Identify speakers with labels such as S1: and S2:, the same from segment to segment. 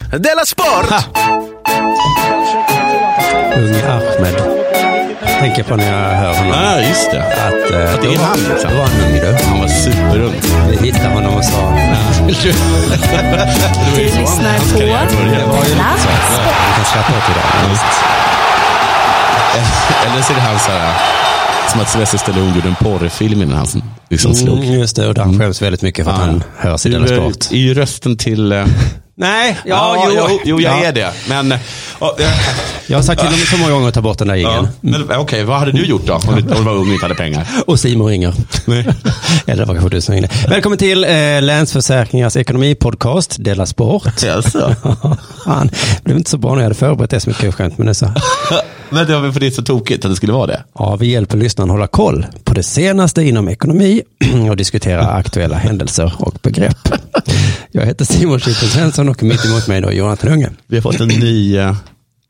S1: Della Sport!
S2: Ung Ahmed. Tänker på när jag hör honom.
S3: Ja, just det.
S2: Att, eh,
S3: Ah. Att det
S2: då
S3: är
S2: var-
S3: han, liksom.
S2: Då var han ung du.
S3: Han var superung.
S2: Vi hittade honom och sa...
S3: Du
S4: lyssnar på Della Sport.
S2: Vi kan släppa åt idag.
S3: Mm. Eller så är det han så här, som att Sylvester Stallone gjorde en porrfilm innan han liksom slog.
S2: Mm, just det, och han skäms väldigt mycket för att han hörs i
S3: Ah. Du eh,
S2: Della
S3: är-
S2: Sport.
S3: är ju rösten till... eh,
S2: Nej,
S3: jo, jo, jag
S2: Ja.
S3: är det. Men, ja, eh,
S2: Jag har sagt till honom så många gånger att ta bort den där
S3: ja.
S2: jingeln.
S3: men eh, okej, vad hade du gjort då? Om du, om du var ung och inte hade pengar.
S2: Och Simon ringer. Eller det var kanske du som ringde. Välkommen till eh, Länsförsäkringars ekonomipodcast, Della Sport.
S3: Jaså?
S2: Fan, det blev inte så bra när jag hade förberett det så mycket skämt, men det är så.
S3: Men det var väl för det är så tokigt att det skulle vara det.
S2: Ja, vi hjälper lyssnaren hålla koll på det senaste inom ekonomi och diskutera aktuella händelser och begrepp. Jag heter Simon Chippen Svensson och mitt emot mig då Jonathan Unge.
S3: Vi har fått en ny, eh,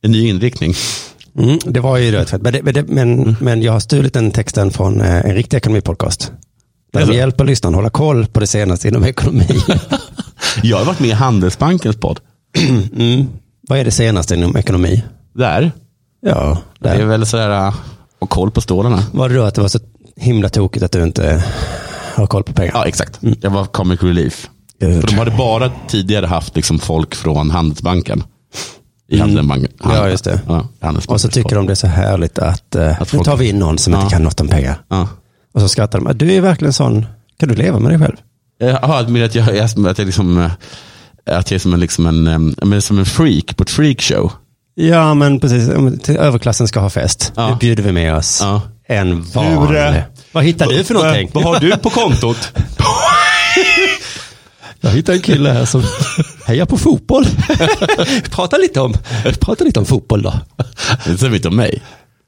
S3: en ny inriktning.
S2: Mm, det var ju rödsvett, men, det- men, det-
S3: Mm.
S2: men, men jag har stulit den texten från eh, en riktig ekonomipodcast. Där
S3: Jaså?
S2: vi hjälper lyssnaren hålla koll på det senaste inom ekonomi.
S3: Jag har varit med i Handelsbankens podd.
S2: Mm. Vad är det senaste inom ekonomi?
S3: Där.
S2: Ja,
S3: Det är
S2: där.
S3: väl sådär, eh, och koll på stålarna.
S2: Var det då att det var så himla tokigt att du inte har koll på pengar?
S3: Ja, exakt. Jag var comic relief.
S2: Gud.
S3: För de hade bara tidigare haft liksom folk från Handelsbanken. I Handelsbanken.
S2: Mm. Ja, just det.
S3: Ja, Handelsbanken.
S2: Och så tycker de det är så härligt att, eh,
S3: Att
S2: nu
S3: folk-
S2: tar vi in någon som
S3: Ja.
S2: inte kan något om pengar.
S3: Ja.
S2: Och så skrattar de. Du är verkligen sån, kan du leva med dig själv?
S3: Jaha, men att jag, att jag, liksom, eh, att jag är som en, liksom en, eh, men som en freak på ett freakshow.
S2: Ja, men precis. Om till- Överklassen ska ha fest.
S3: Ja.
S2: Nu bjuder vi med oss
S3: Ja.
S2: en vanlig.
S3: Lure.
S2: Vad hittar du för någonting?
S3: har du på kontot?
S2: Jag hittade en kille här som hejar på fotboll. prata, lite om, prata lite om fotboll då.
S3: det säger inte om mig.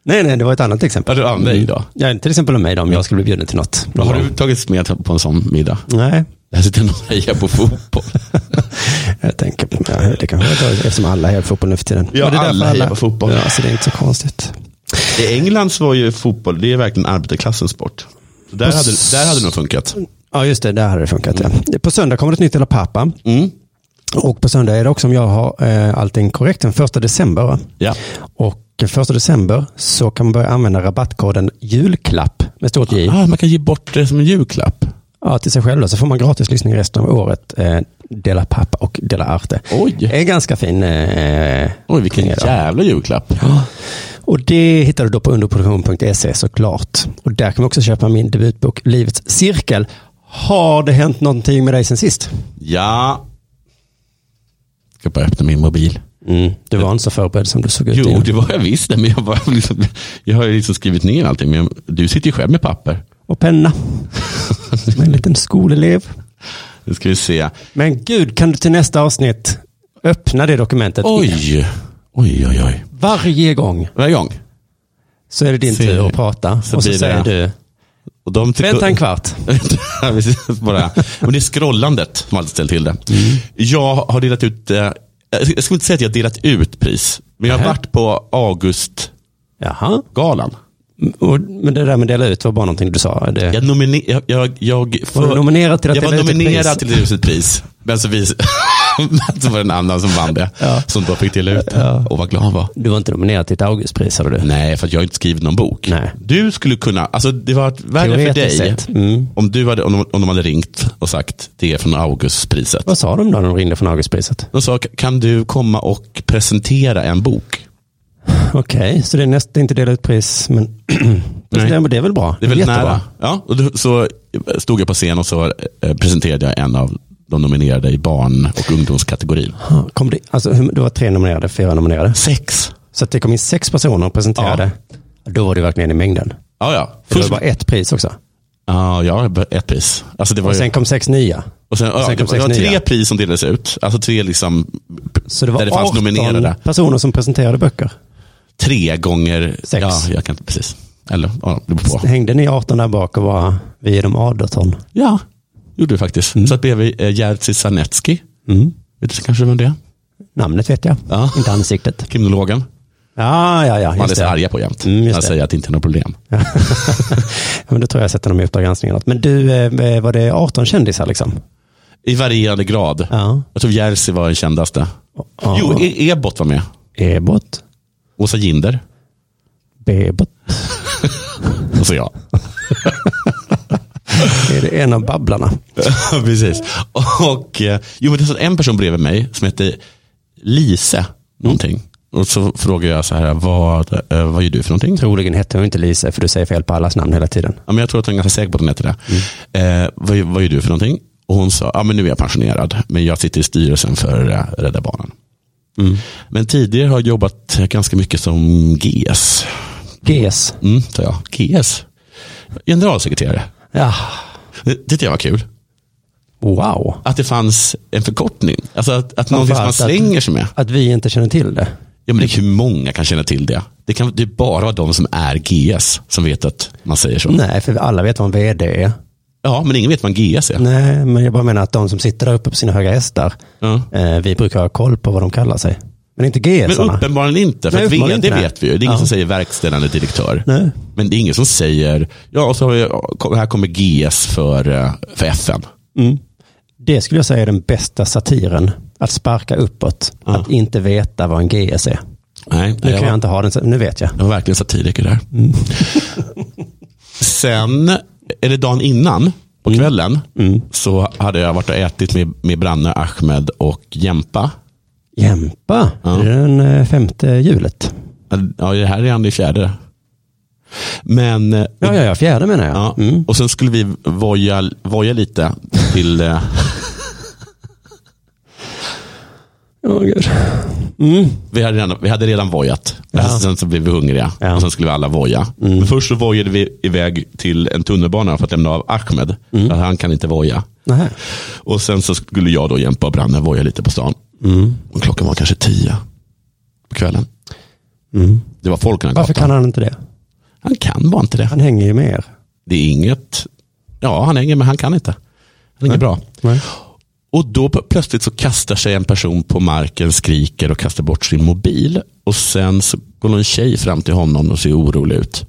S2: Nej, nej, det var ett annat exempel. Mm.
S3: Ja, det var om dig då.
S2: Ja, till exempel om mig då, om jag skulle bli bjuden till något.
S3: Har du tagits med på en sån middag?
S2: Nej,
S3: Där sitter någon och hejar på fotboll.
S2: Jag tänker, på- ja, det kanske jag tar, eftersom alla hejar på fotboll nu för tiden.
S3: Ja,
S2: Och det är
S3: alla
S2: därför
S3: hejar på fotboll.
S2: Ja, så det är inte så konstigt.
S3: I England så var ju fotboll, det är verkligen arbetarklassens sport. Så Där hade, där hade det nog funkat.
S2: Ja, just det, där hade det funkat. Ja. Mm. På söndag kommer det ett nytt Della Pappa.
S3: Mm.
S2: Och på söndag är det också, om jag har eh, allting korrekt, den första december. Va?
S3: Ja.
S2: Och första december så kan man börja använda rabattkoden julklapp med stort J.
S3: Ah, man kan ge bort det som en julklapp.
S2: Ja, till sig själv då, så får man gratis lyssning resten av året. Eh, Della Pappa och Della Arte.
S3: Oj.
S2: Det är en ganska fin... Eh,
S3: Oj, vilken
S2: kring det då.
S3: jävla julklapp.
S2: Och det hittar du då på underproduktion.se E såklart. Och där kan man också köpa min debutbok Livets cirkel. Har det hänt någonting med dig sen sist?
S3: Ja. Ska bara öppna min mobil.
S2: Du var inte så förberedd som du såg ut
S3: Mm. Jo,
S2: innan.
S3: det var jag visst. Men jag, var liksom, jag har ju liksom skrivit ner allting. Men jag- du sitter ju själv med papper.
S2: Och penna. Som en liten skolelev.
S3: Nu ska vi se.
S2: Men gud, kan du till nästa avsnitt öppna det dokumentet?
S3: Oj, oj, oj, oj.
S2: Varje gång
S3: Varje gång.
S2: så är det din
S3: Se.
S2: tur att prata.
S3: Så
S2: och så
S3: blir det-
S2: säger du,
S3: Och de tycker-
S2: vänta en kvart.
S3: Ja, precis, bara. Men det är scrollandet som alltid ställer till det. Jag har delat ut, eh, jag sk- jag skulle inte säga att jag har delat ut pris, men jag har
S2: Nähä.
S3: varit på Augustgalan.
S2: Jaha. Och, men det där med dela ut var bara någonting du sa. Det,
S3: Jag, nomine- jag, jag, jag
S2: Var du nominerad till att
S3: jag var
S2: dela ut ett
S3: nominerad
S2: pris?
S3: till ett pris. Men så, vis- men så var det en annan som vann det. Som då fick dela ut det. Och vad glad han var.
S2: Du var inte nominerad till ett Augustpris, hade du?
S3: Nej, för att jag har inte skrivit någon bok.
S2: Nej.
S3: Du skulle kunna, alltså det var ett värre för dig
S2: Teoretiskt sett, mm.
S3: om, du hade, om, de, om de hade ringt och sagt det är från Augustpriset.
S2: Vad sa de då när de ringde från Augustpriset?
S3: De sa, kan du komma och presentera en bok?
S2: Okej, så det är, näst, det är inte delat ut pris, men
S3: Nej.
S2: det, är- det är väl bra?
S3: Det är väldigt
S2: jättebra.
S3: nära. Ja, och då, så stod jag på scen och så eh, presenterade jag en av de nominerade i barn och ungdomskategorin.
S2: Ja, Kom det, alltså, hur- det var tre nominerade, fyra nominerade.
S3: Sex.
S2: Så att det kom in sex personer och presenterade. Då var det verkligen i mängden.
S3: Ja, ja.
S2: För det
S3: Först,
S2: var bara ett pris också.
S3: ja, ja, ett pris. Alltså det var
S2: Och
S3: ju,
S2: sen kom sex nya.
S3: och sen, ja,
S2: och sen
S3: det,
S2: kom
S3: var- det var
S2: sex
S3: tre
S2: nya.
S3: pris som delades ut. Alltså tre liksom,
S2: Så det var
S3: där det fanns
S2: 18
S3: nominerade.
S2: personer som presenterade böcker.
S3: Tre gånger
S2: Sex.
S3: Ja, jag kan inte, precis. Eller, ja, det beror på.
S2: Hängde ni 18 där bak och var vi är de 18?
S3: Ja, gjorde vi faktiskt. Satt bredvid eh, Jerzy Sarnecki.
S2: Mm.
S3: Vet du kanske vem det är?
S2: Namnet vet jag,
S3: Ja.
S2: inte ansiktet.
S3: Kriminologen.
S2: Ja, ja, ja.
S3: Man är
S2: Just
S3: så
S2: det.
S3: arga på jämt.
S2: Mm, just
S3: Han
S2: det.
S3: säger att det inte är något problem.
S2: Ja, men då tror jag jag sätter dem i Uppdrag granskning eller något. Men du, eh, var det 18 kändisar liksom?
S3: I varierande grad.
S2: Ja.
S3: Jag tror Jerzy var den kändaste.
S2: Ja.
S3: Jo, E- Ebot var med.
S2: Ebot,
S3: Åsa Ginder.
S2: Bebot.
S3: Och så jag.
S2: Är det en av Babblarna?
S3: Precis. Och, eh, jo, men det satt en person bredvid mig som hette Lise någonting. Och så frågade jag så här, vad, eh, vad gör du för någonting?
S2: Troligen hette hon inte Lise, för du säger fel på allas namn hela tiden.
S3: Ja, men jag tror att hon är ganska säker på att hon heter det.
S2: Mm.
S3: Eh, vad, vad gör du för någonting? Och hon sa, ja men nu är jag pensionerad, men jag sitter i styrelsen för eh, Rädda Barnen.
S2: Mm.
S3: Men tidigare har jag jobbat ganska mycket som GS.
S2: GS.
S3: Mm, sa jag. GS? Generalsekreterare.
S2: Ja.
S3: Det det tyckte jag var kul.
S2: Wow.
S3: Att det fanns en förkortning. Alltså att, att någonting som man
S2: Framförallt att-
S3: slänger sig med.
S2: Att vi inte känner till det.
S3: Ja, men det är hur många kan känna till det? Det, kan, det är bara de som är GS som vet att man säger så.
S2: Nej, för alla vet vad en vd är.
S3: Ja, men ingen vet vad en GS är.
S2: Nej, men jag bara menar att de som sitter där uppe på sina höga hästar,
S3: Ja.
S2: eh, vi brukar ha koll på vad de kallar sig. Men inte
S3: Men
S2: GS-arna.
S3: uppenbarligen inte. För
S2: Nej,
S3: att
S2: uppenbarligen
S3: vd
S2: inte.
S3: vet vi ju. Det är ingen
S2: Ja.
S3: som säger verkställande direktör.
S2: Nej.
S3: Men det är ingen som säger, ja, och så har vi, här kommer GS för, eh, för FN.
S2: Det skulle jag säga är den bästa satiren. Att sparka uppåt. Att inte veta vad en GS är.
S3: Nej,
S2: Nu
S3: jag var-
S2: kan jag inte Mm. ha den, så- nu vet jag.
S3: Jag var verkligen satiriker där. Sen, eller dagen innan, på
S2: Mm.
S3: kvällen, så hade jag varit och ätit med, med Branne, Ahmed och Jempa.
S2: Jämpa,
S3: Ja.
S2: det är den eh, femte hjulet.
S3: Ja, det här är han i fjärde. Men, eh,
S2: Ja, ja, ja, fjärde menar jag.
S3: ja,
S2: Mm.
S3: och sen skulle vi voja, voja lite till, eh,
S2: Åh, gud.
S3: vi, hade redan, vi hade redan vojat.
S2: Ja.
S3: Sen så blev vi hungriga
S2: Ja. Mm.
S3: och sen skulle vi alla voja. Men först så vojade vi iväg till en tunnelbana för att lämna av Ahmed.
S2: Mm.
S3: För Han kan inte voja.
S2: Nähä.
S3: Och sen så skulle jag då Jempa och Branne voja lite på stan.
S2: Mm.
S3: Och klockan var kanske tio på kvällen. Det var folk i den här
S2: Mm. Varför
S3: gatan.
S2: kan han inte det?
S3: Han kan bara inte det.
S2: Han hänger ju med er.
S3: Det är inget... Ja, han hänger men han kan inte. Han är inget bra.
S2: Nej.
S3: Och då p- plötsligt så kastar sig en person på marken, skriker och kastar bort sin mobil. Och sen så går någon tjej fram till honom och ser orolig ut.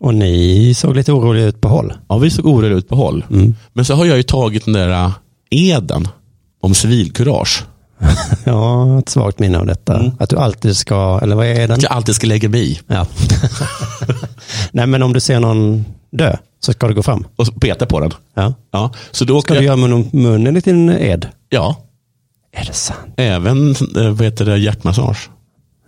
S2: Och ni såg lite oroliga ut på håll.
S3: Ja, vi såg oroliga ut på håll.
S2: Mm.
S3: Men så har jag ju tagit den där äh, eden om civilkurage.
S2: Ja, ett svagt minne av detta.
S3: Mm.
S2: Att du alltid ska, eller vad är den?
S3: Att jag alltid ska lägga mig i
S2: Ja. Nej, men om du ser någon dö så ska du gå fram.
S3: och så peta på den.
S2: Ja.
S3: Ja, så då
S2: Ska
S3: åker
S2: du
S3: jag,
S2: göra mun- munnen i din ed?
S3: ja,
S2: Är det sant?
S3: även äh, vad heter det, hjärtmassage.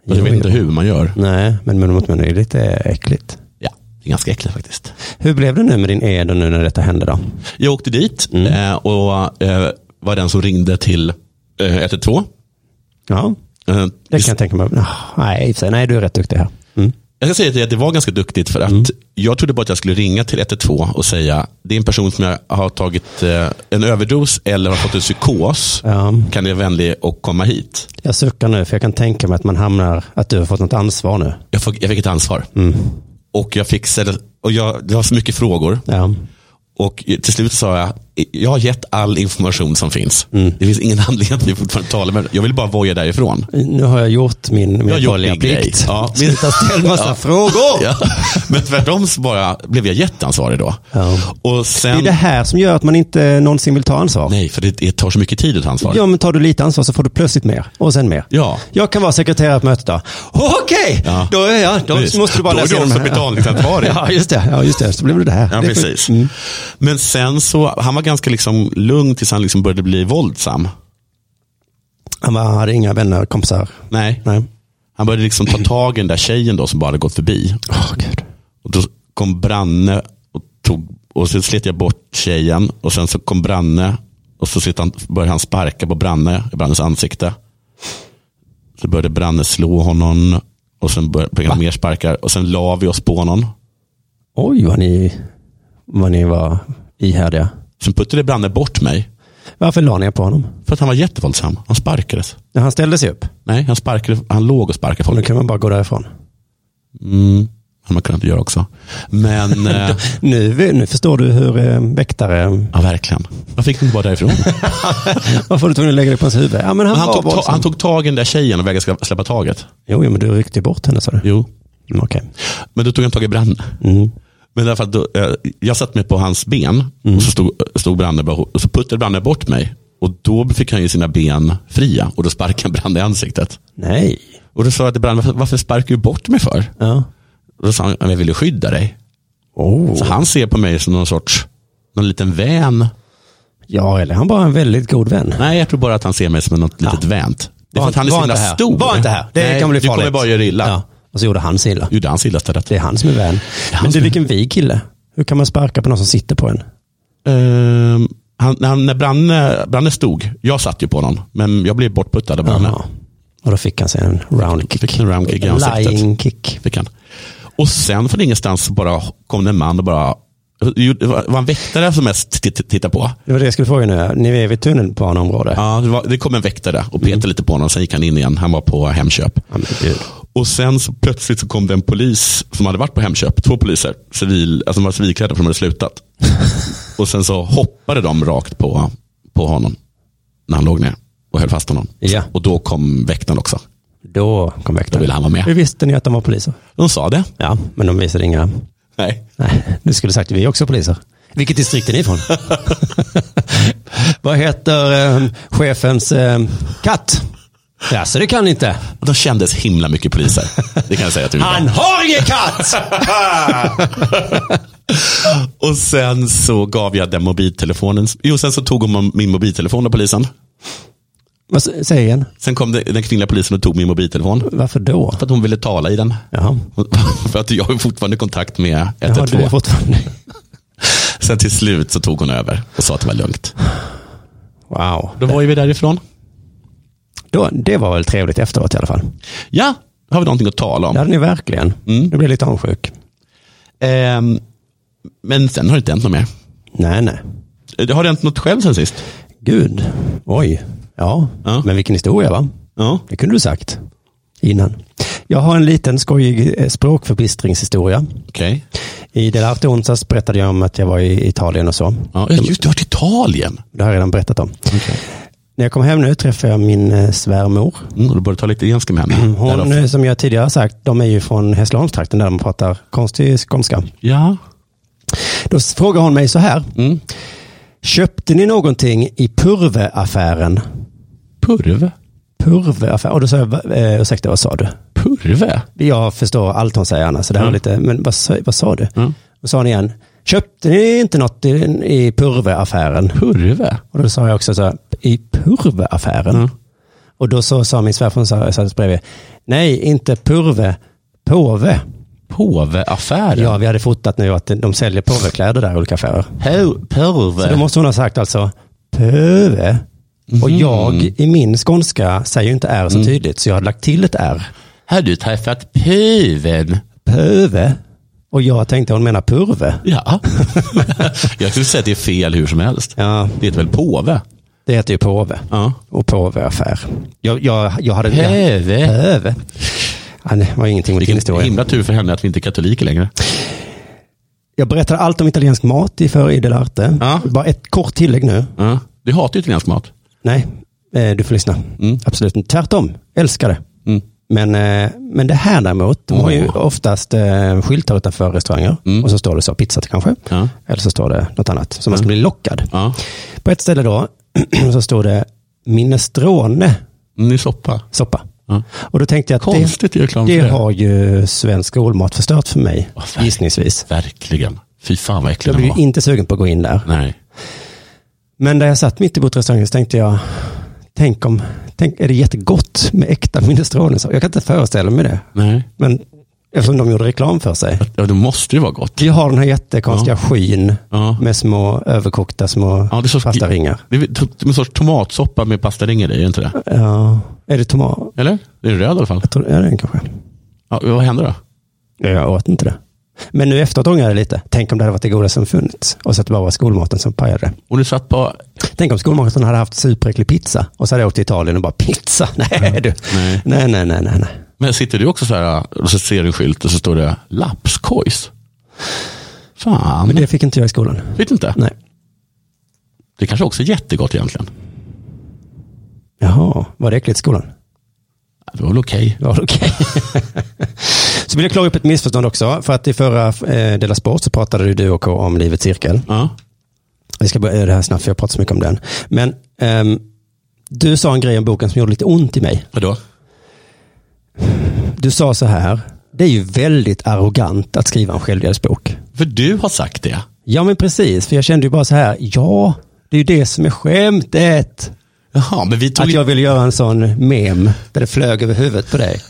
S3: Men
S2: Jo,
S3: jag vet
S2: jo.
S3: inte hur man gör.
S2: Nej, men mun mot mun är ju lite äckligt.
S3: Ja, det är ganska äckligt faktiskt.
S2: Hur blev det nu med din ed och nu när detta hände då?
S3: Jag åkte dit
S2: Mm.
S3: eh, och eh, var den som ringde till eh, 112.
S2: Ja,
S3: Eh,
S2: det kan jag tänka mig. Ah, Nej, i och för sig, nej du är rätt duktig här. Mm.
S3: Jag ska säga till dig att det var ganska duktigt för att jag trodde bara att jag skulle ringa till 112 och säga det är en person som jag har tagit eh, en överdos eller har fått en psykos.
S2: Ja,
S3: Kan du vara vänlig och komma hit?
S2: jag suckar nu för jag kan tänka mig att man hamnar, att du har fått något ansvar nu.
S3: Jag fick, jag fick ett ansvar.
S2: Mm.
S3: Och jag fick, ställa- och jag, det var så mycket frågor.
S2: Ja.
S3: Och till slut sa jag, jag har gett all information som finns.
S2: Mm.
S3: Det finns ingen anledning att vi fortfarande talar med Jag vill bara voja därifrån.
S2: Nu har jag gjort min
S3: har gjort
S2: medborgerliga
S3: min grej.
S2: plikt.
S3: Ja.
S2: Sluta ställa massa
S3: Ja.
S2: frågor.
S3: Ja. Men tvärtom så bara blev jag jätteansvarig då.
S2: Ja.
S3: Och
S2: Det är
S3: sen,
S2: det här som gör att man inte någonsin vill ta ansvar.
S3: nej, för det det tar så mycket tid att ta ansvar.
S2: Ja, men tar du lite ansvar så får du plötsligt mer. Och sen mer.
S3: Ja.
S2: Jag kan vara sekreterare på mötet då. Okej,
S3: Ja.
S2: då, är jag, då
S3: Precis.
S2: måste du bara
S3: Då är du
S2: läsa igenom
S3: också
S2: här.
S3: betalningsansvarig.
S2: Ja, just det. Ja, just det. Så blev det det här.
S3: Ja,
S2: det är Mm. sjukt.
S3: precis. Men sen så, han var ganska liksom lugn tills han liksom började bli våldsam.
S2: Han bara, hade inga vänner, kompisar.
S3: Nej.
S2: Nej.
S3: Han började liksom ta tag i den där tjejen då som bara hade gått förbi.
S2: Åh, gud.
S3: Och då kom Branne och tog, och så slet jag bort tjejen och sen så kom Branne och så slet han, började han sparka på Branne, i Brannes ansikte. Så började Branne slå honom och sen började började han mer sparkar och sen la vi oss på honom.
S2: Oj, vad ni, vad ni var ihärdiga.
S3: Sen puttade Branne bort mig
S2: Varför la ni er på honom?
S3: för att han var jättevåldsam. Han sparkades.
S2: Ja, han ställde sig upp.
S3: Nej, han, sparkade, han låg och sparkade
S2: Och nu
S3: folk.
S2: kan man bara gå därifrån.
S3: Mm, hade man kunnat göra också. Men, eh,
S2: Nu, nu förstår du hur eh, väktare...
S3: ja verkligen. Varför fick de inte bara därifrån?
S2: Varför du tvungen att lägga dig på hans huvud? Ja, men han,
S3: Han
S2: var
S3: tog, ta,
S2: våldsam.
S3: han tog tag i den där tjejen och vägrade ska- släppa taget.
S2: Jo, jo, men du ryckte ju bort henne sa du.
S3: Jo,
S2: Mm, Okej.
S3: Men då tog han tag i Branne. Men i alla eh, fall då, eh, jag satte mig på hans ben och så stod, stod Branne bara, och så puttade Branne bort mig. Och då fick han ju sina ben fria och då sparkade han Branne i ansiktiktet.
S2: Nej.
S3: Och då sa jag till Branne, varför, varför sparkar du bort mig för?
S2: Ja.
S3: Och då sa han, jag ville skydda dig. Så
S2: Oh.
S3: han ser på mig som någon sorts, någon liten vän.
S2: Ja, eller han bara en väldigt god vän.
S3: Nej, jag tror bara att han ser mig som något litet vänt. Det är för att han är så
S2: var
S3: himla
S2: inte här.
S3: stor.
S2: Var inte här. Det
S3: Nej,
S2: kan bli
S3: du
S2: farligt.
S3: kommer bara göra illa.
S2: Ja. Och så gjorde han sig illa.
S3: Gjorde han sig illa istället?
S2: Det är han som är vän. Men du, vilken vig kille. Hur kan man sparka på någon som sitter på en?
S3: Ehm, han, när han, när Branne, Branne stod, jag satt ju på honom, men jag blev bortputtad av Branne.
S2: Jaha. Och då fick han sig en round kick.
S3: Fick en round kick i ansiktet.
S2: Lying kick.
S3: Fick han. Och sen från ingenstans så bara kom det en man och bara, det var var en väktare som mest t- t- tittade på.
S2: Det var det jag skulle fråga nu. Ni är vid tunneln på en område.
S3: Ja, det, var, det kom en väktare och
S2: Mm.
S3: petade lite på honom, sen gick han in igen, han var på Hemköp.
S2: Ja, men gud.
S3: Och sen så plötsligt så kom det en polis som hade varit på Hemköp, två poliser, civil, alltså de var civilklädda för de hade slutat. och sen så hoppade de rakt på, på honom när han låg ner och höll fast honom.
S2: Ja.
S3: Och då kom väktaren också.
S2: Då kom väktaren.
S3: Då ville han vara med.
S2: Hur visste ni att de var poliser?
S3: De sa det.
S2: Ja, men de visade inga.
S3: Nej.
S2: Nej, du skulle sagt att vi är också poliser. Vilket distrikt är ni ifrån? Vad heter eh, chefens eh, katt? Ja, så det kan ni inte.
S3: Och de kändes himla mycket poliser. Det kan jag säga att vi
S2: Han
S3: var.
S2: har ingen katt!
S3: Och sen så gav jag den mobiltelefonen. Jo, sen så tog hon min mobiltelefon av polisen.
S2: Vad s- Säg igen.
S3: Sen kom det, den kvinnliga polisen och tog min mobiltelefon.
S2: Varför då?
S3: För att hon ville tala i den.
S2: Jaha.
S3: För att jag har fortfarande kontakt med
S2: Jaha, du
S3: 112.
S2: är fortfarande...
S3: Sen till slut så tog hon över och sa att det var lugnt.
S2: Wow.
S3: Då var ju vi därifrån.
S2: Då, det var väl trevligt efteråt i alla fall.
S3: Ja, har vi någonting att tala om.
S2: Det hade ni verkligen. Nu blir jag lite avundsjuk.
S3: Ehm, men sen har det inte hänt något mer.
S2: Nej, nej.
S3: Eh, Har det hänt något själv sen sist?
S2: Gud. Oj. Ja.
S3: Ja.
S2: men vilken historia va?
S3: Ja.
S2: Det kunde du sagt innan. Jag har en liten skojig eh, språkförbistringshistoria.
S3: Okej.
S2: I Delarte onsdags berättade jag om att jag var i Italien och så.
S3: Ja, just det, har varit i Italien.
S2: Det har jag redan berättat om. När jag kom hem nu träffade jag min eh, svärmor.
S3: Mm, och då började ta lite italienska med henne.
S2: Hon,
S3: Därav-
S2: eh, som jag tidigare har sagt, de är ju från Hässleholmstrakten där de pratar konstig skånska.
S3: Ja.
S2: Då s- frågar hon mig så här.
S3: Mm.
S2: Köpte ni någonting i Purveaffären?
S3: Purve.
S2: Purveaffären? Och då sa jag, "Va- eh, ursäkta, vad sa du?
S3: Purve?
S2: Jag förstår allt hon säger annars, så det här
S3: Mm.
S2: var lite, men vad, sa- vad sa du?
S3: Mm.
S2: Då sa hon igen, köpte ni inte något i, i Purveaffären?
S3: Purve?
S2: Och då sa jag också så här, i Purveaffären?
S3: Mm.
S2: Och då så sa min svärfar, hon sa- satt bredvid, nej, inte Purve, Påve.
S3: Påveaffären?
S2: Ja, vi hade fotat nu att de säljer påvekläder där i olika affärer.
S3: Po-
S2: Så då
S3: Purve?
S2: måste hon ha sagt alltså pöve.
S3: Mhm.
S2: Och jag i min skånska säger ju inte R
S3: Mm.
S2: så tydligt så jag har lagt till ett R.
S3: Har du träffat pöven?
S2: Pöve. Och jag tänkte hon menar purve.
S3: Ja. jag skulle säga att det är fel hur som helst.
S2: Ja,
S3: Det heter väl påve?
S2: det heter ju påve.
S3: Ja.
S2: Och påveaffär. Jag, jag, jag hade...
S3: Pöve.
S2: Pöve. Ja, det var ingenting mot din
S3: Vilken
S2: historia.
S3: himla tur för henne att vi inte är katoliker längre.
S2: Jag berättade allt om italiensk mat i förr i Delarte.
S3: Ja.
S2: Bara ett kort tillägg nu.
S3: Ja. Du hatar ju italiensk mat.
S2: Nej, eh, du får lyssna. Absolut inte. Tvärtom, älskar det.
S3: Mm.
S2: Men, eh, men det här däremot, de har ju
S3: Åh. Mm.
S2: oftast eh, skyltar utanför restauranger. Och så står det så, pizza till kanske.
S3: Ja.
S2: Eller så står det något annat. Så man ska bli lockad.
S3: Ja.
S2: På ett ställe då, så står det minestrone
S3: Ny soppa.
S2: soppa.
S3: Ja.
S2: Och då tänkte jag att
S3: Konstigt att göra reklam
S2: det,
S3: för
S2: det
S3: det.
S2: har ju svensk skolmat förstört för mig,
S3: Åh, verkligen.
S2: gissningsvis.
S3: Verkligen. Fy fan vad äcklig
S2: Jag
S3: den
S2: blev
S3: var.
S2: ju inte sugen på att gå in där.
S3: Nej.
S2: Men där jag satt mitt emot restaurangen så tänkte jag, tänk om, tänk, är det jättegott med äkta minestrone? Så Jag kan inte föreställa mig det.
S3: Nej.
S2: Men eftersom de gjorde reklam för sig.
S3: Ja, det måste ju vara gott.
S2: Vi har den här jättekonstiga skyn
S3: Ja.
S2: med små överkokta små
S3: Ja, det är så-
S2: fasta ringar.
S3: Det är väl to- det är en sorts tomatsoppa med pastaringar i, är det inte det?
S2: Ja, är det tomat?
S3: Eller? Det är röd i alla fall.
S2: Jag tror- Ja, det är den kanske.
S3: Ja, vad händer då?
S2: Ja, Jag åt inte det. Men nu efteråt ångrar jag det lite. Tänk om det hade varit det goda som funnits och så att det bara var skolmaten som pajade det.
S3: Och du satt på...
S2: Tänk om skolmaten hade haft superäcklig pizza och så hade jag åkt till Italien och bara pizza. Nej, du.
S3: Nej.
S2: Nej, nej, nej, nej. nej.
S3: Men sitter du också så här och så ser du en skylt och så står det lapskojs? Fan.
S2: Men det fick inte jag i skolan.
S3: Vet inte.
S2: Nej.
S3: Det kanske också är jättegott egentligen.
S2: Jaha, var det äckligt i skolan?
S3: Ja, Det var väl okej.
S2: Ja, okej. så vill jag klara upp ett missförstånd också. För att i förra eh, Dela Sport så pratade ju du och K om Livets Cirkel.
S3: Ja.
S2: Vi ska börja det här snabbt, för jag pratar så mycket om den. Men ehm, du sa en grej om boken som gjorde lite ont i mig.
S3: Vadå?
S2: Du sa så här, det är ju väldigt arrogant att skriva en självhjälpsbok.
S3: För du har sagt det.
S2: Ja men precis, för jag kände ju bara så här, ja, det är ju det som är skämtet.
S3: Jaha, men vi tog
S2: Att jag ville göra en sån mem där det flög över huvudet på dig.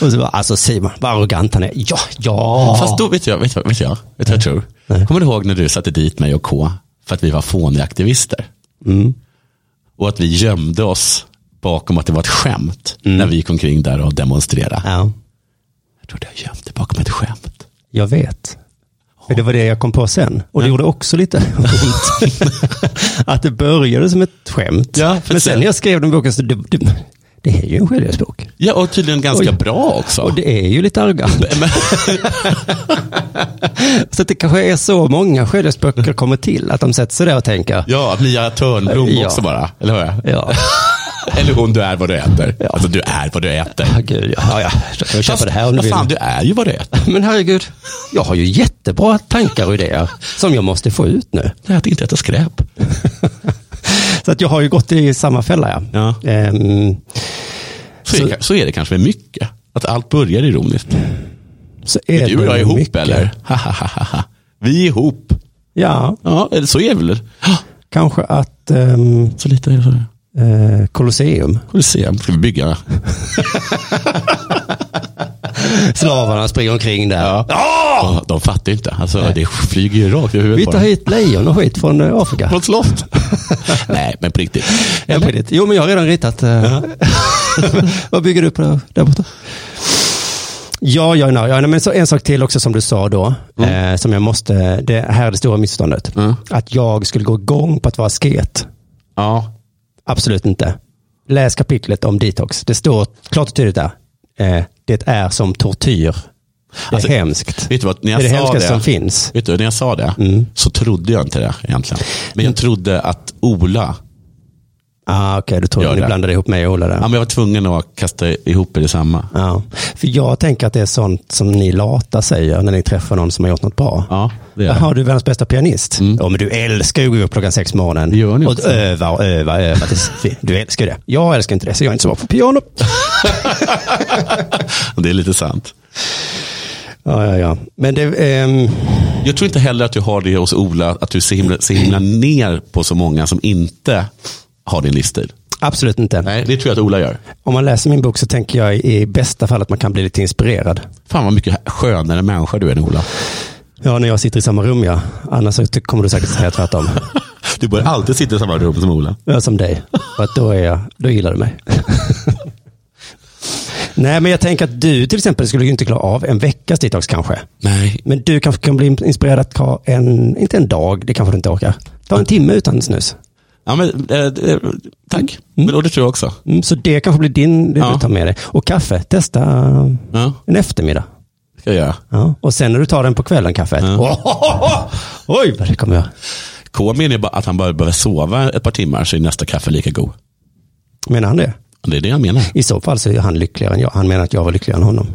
S2: Och så bara, alltså Simon, vad arrogant han är. Ja, ja.
S3: Fast då, vet jag, vet jag, vet jag, vet jag, jag tror.
S2: Nej.
S3: Kommer du ihåg när du satte dit mig och K för att vi var fåniga aktivister?
S2: Mm.
S3: Och att vi gömde oss bakom att det var ett skämt
S2: Mm.
S3: när vi gick omkring där och demonstrerade.
S2: ja,
S3: Jag trodde jag gömde bakom ett skämt.
S2: jag vet. För det var det jag kom på sen. Och det gjorde också lite ont. att det började som ett skämt.
S3: Ja, för
S2: Men sen
S3: sen-
S2: när jag skrev den boken så, det, det, det är ju en självhjälpsbok.
S3: Ja, och tydligen ganska
S2: Oj.
S3: bra också.
S2: Och det är ju lite arrogant. så att det kanske är så många självhjälpsböcker kommer till, att de sätter sig där och tänker,
S3: Ja, Mia Törnblom
S2: Ja.
S3: också bara. Eller hur?
S2: ja,
S3: Eller hon, du är vad du äter. Alltså du är vad du äter.
S2: ja gud, ja, ja, ja, då kan vi köpa
S3: Fast,
S2: det här om du
S3: vad
S2: vill.
S3: fan, du är ju vad du äter.
S2: Men herregud, jag har ju jättebra tankar och idéer som jag måste få ut nu.
S3: Jag äter inte äta skräp.
S2: Så att jag har ju gått i samma fälla, ja.
S3: Ja.
S2: Ehm,
S3: Så, är, det- så är det kanske med mycket. Att allt börjar ironiskt.
S2: så är
S3: du och
S2: det
S3: jag ihop
S2: mycket.
S3: eller? Ha, ha, ha, ha, ha. Vi är ihop.
S2: Ja,
S3: Ja, eller så är det väl. Ha,
S2: kanske att ehm,
S3: Så lite är det. så.
S2: eh, Colosseum,
S3: Får vi se. Ska vi bygga?
S2: slavarna springer omkring där.
S3: Ja. Oh! De fattar ju inte. Alltså, det flyger ju rakt över
S2: Ah! Vi
S3: huvudet
S2: tar hit lejon och skit från eh, Afrika.
S3: Från slott. Nej, men på riktigt.
S2: Ja, på riktigt. Jo, men jag har redan ritat. eh, Vad bygger du på där, där borta? Ja, ja, ja, ja nej, men så en sak till också som du sa då, eh, som jag måste, det här är det stora missförståndet. Att jag skulle gå igång på att vara asket.
S3: Ja.
S2: Absolut inte. Läs kapitlet om detox. Det står klart och tydligt där. Eh, det är som tortyr. Det är
S3: Alltså,
S2: hemskt.
S3: Vet du vad, när jag
S2: det är det
S3: sa
S2: hemskaste
S3: det,
S2: som finns. Mm.
S3: Vet du, när jag sa det så trodde jag inte det egentligen. Men jag trodde att Ola,
S2: Ah, Okej, du tror
S3: Gör
S2: ni
S3: det.
S2: blandade ihop mig och Ola där.
S3: ja, men jag var tvungen att kasta ihop i detsamma.
S2: Ja, för jag tänker att det är sånt som ni lata säger när ni träffar någon som har gjort något bra.
S3: Ja, det är det. Mm.
S2: Jaha, du är världens bästa pianist. Ja, men du älskar ju att gå upp klockan sex på morgonen.
S3: Det gör ni
S2: och
S3: också.
S2: öva och öva och öva. tills- Du älskar ju det. Jag älskar inte det, så jag är inte så bra på piano.
S3: Och det är lite sant.
S2: Ja, ja, ja. Men det, ehm,
S3: Jag tror inte heller att du har det hos Ola, att du ser himla, ser himla ner på så många som inte har din livsstil.
S2: absolut inte.
S3: Nej, det tror jag att Ola gör.
S2: Om man läser min bok så tänker jag i bästa fall att man kan bli lite inspirerad.
S3: Fan vad mycket skönare människa du är än Ola.
S2: Ja, när jag sitter i samma rum, ja. Annars så ty- kommer du säkert säga tvärtom.
S3: Du bör alltid sitta i samma rum som Ola.
S2: Ja, som dig. För att då, är jag, då gillar du mig. Nej, men jag tänker att du till exempel skulle ju inte klara av en veckas detox kanske.
S3: Nej,
S2: Men du kanske kan bli inspirerad att ta en, inte en dag, det kanske du inte orkar. Ta en timme utan snus.
S3: ja, men, eh, eh, tack. Men, och det tror jag också.
S2: Mm, så det kanske blir din, det
S3: Ja.
S2: du tar med dig. Och kaffe, testa eh,
S3: Ja,
S2: en eftermiddag.
S3: ska jag göra.
S2: Ja. Och sen när du tar den på kvällen, kaffet. Oj, vad det kommer jag.
S3: K menar ju bara att han bara behöver sova ett par timmar så är nästa kaffe lika god.
S2: Menar han det?
S3: Och Det är det jag menar.
S2: I så fall så är han lyckligare än jag. Han menar att jag var lyckligare än honom.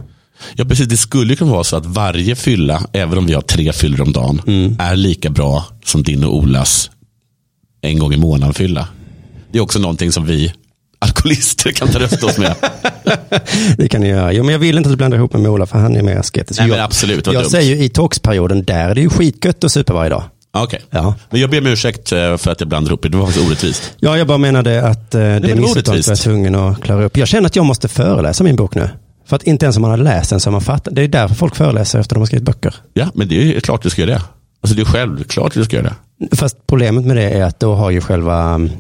S3: Ja, precis, det skulle ju kunna vara så att varje fylla, även om vi har tre fyllor om dagen, är lika bra som din och Olas en gång i månaden fylla. Det är också någonting som vi alkoholister kan trösta oss med.
S2: Det kan ni göra. Jo, men jag vill inte att du blandar ihop mig med Ola, för han är mer asketisk.
S3: Nej,
S2: jag,
S3: men absolut, vad
S2: Jag
S3: dumt.
S2: säger ju i toxperioden, där är det ju skitgött att supa varje dag.
S3: Ja, Okej,
S2: Ja.
S3: men jag ber om ursäkt eh, för att jag blandar ihop det. Det var faktiskt orättvist.
S2: Ja, jag bara menade att eh, det
S3: men
S2: missförståndet
S3: orättvist.
S2: var jag tvungen att klara upp. Jag känner att jag måste föreläsa min bok nu. För att inte ens om man har läst den så har man fattat. Det är därför folk föreläser efter de har skrivit böcker.
S3: Ja, men det är ju klart du ska göra det. Alltså det är självklart du ska göra det.
S2: Fast problemet med det är att då har ju själva mm,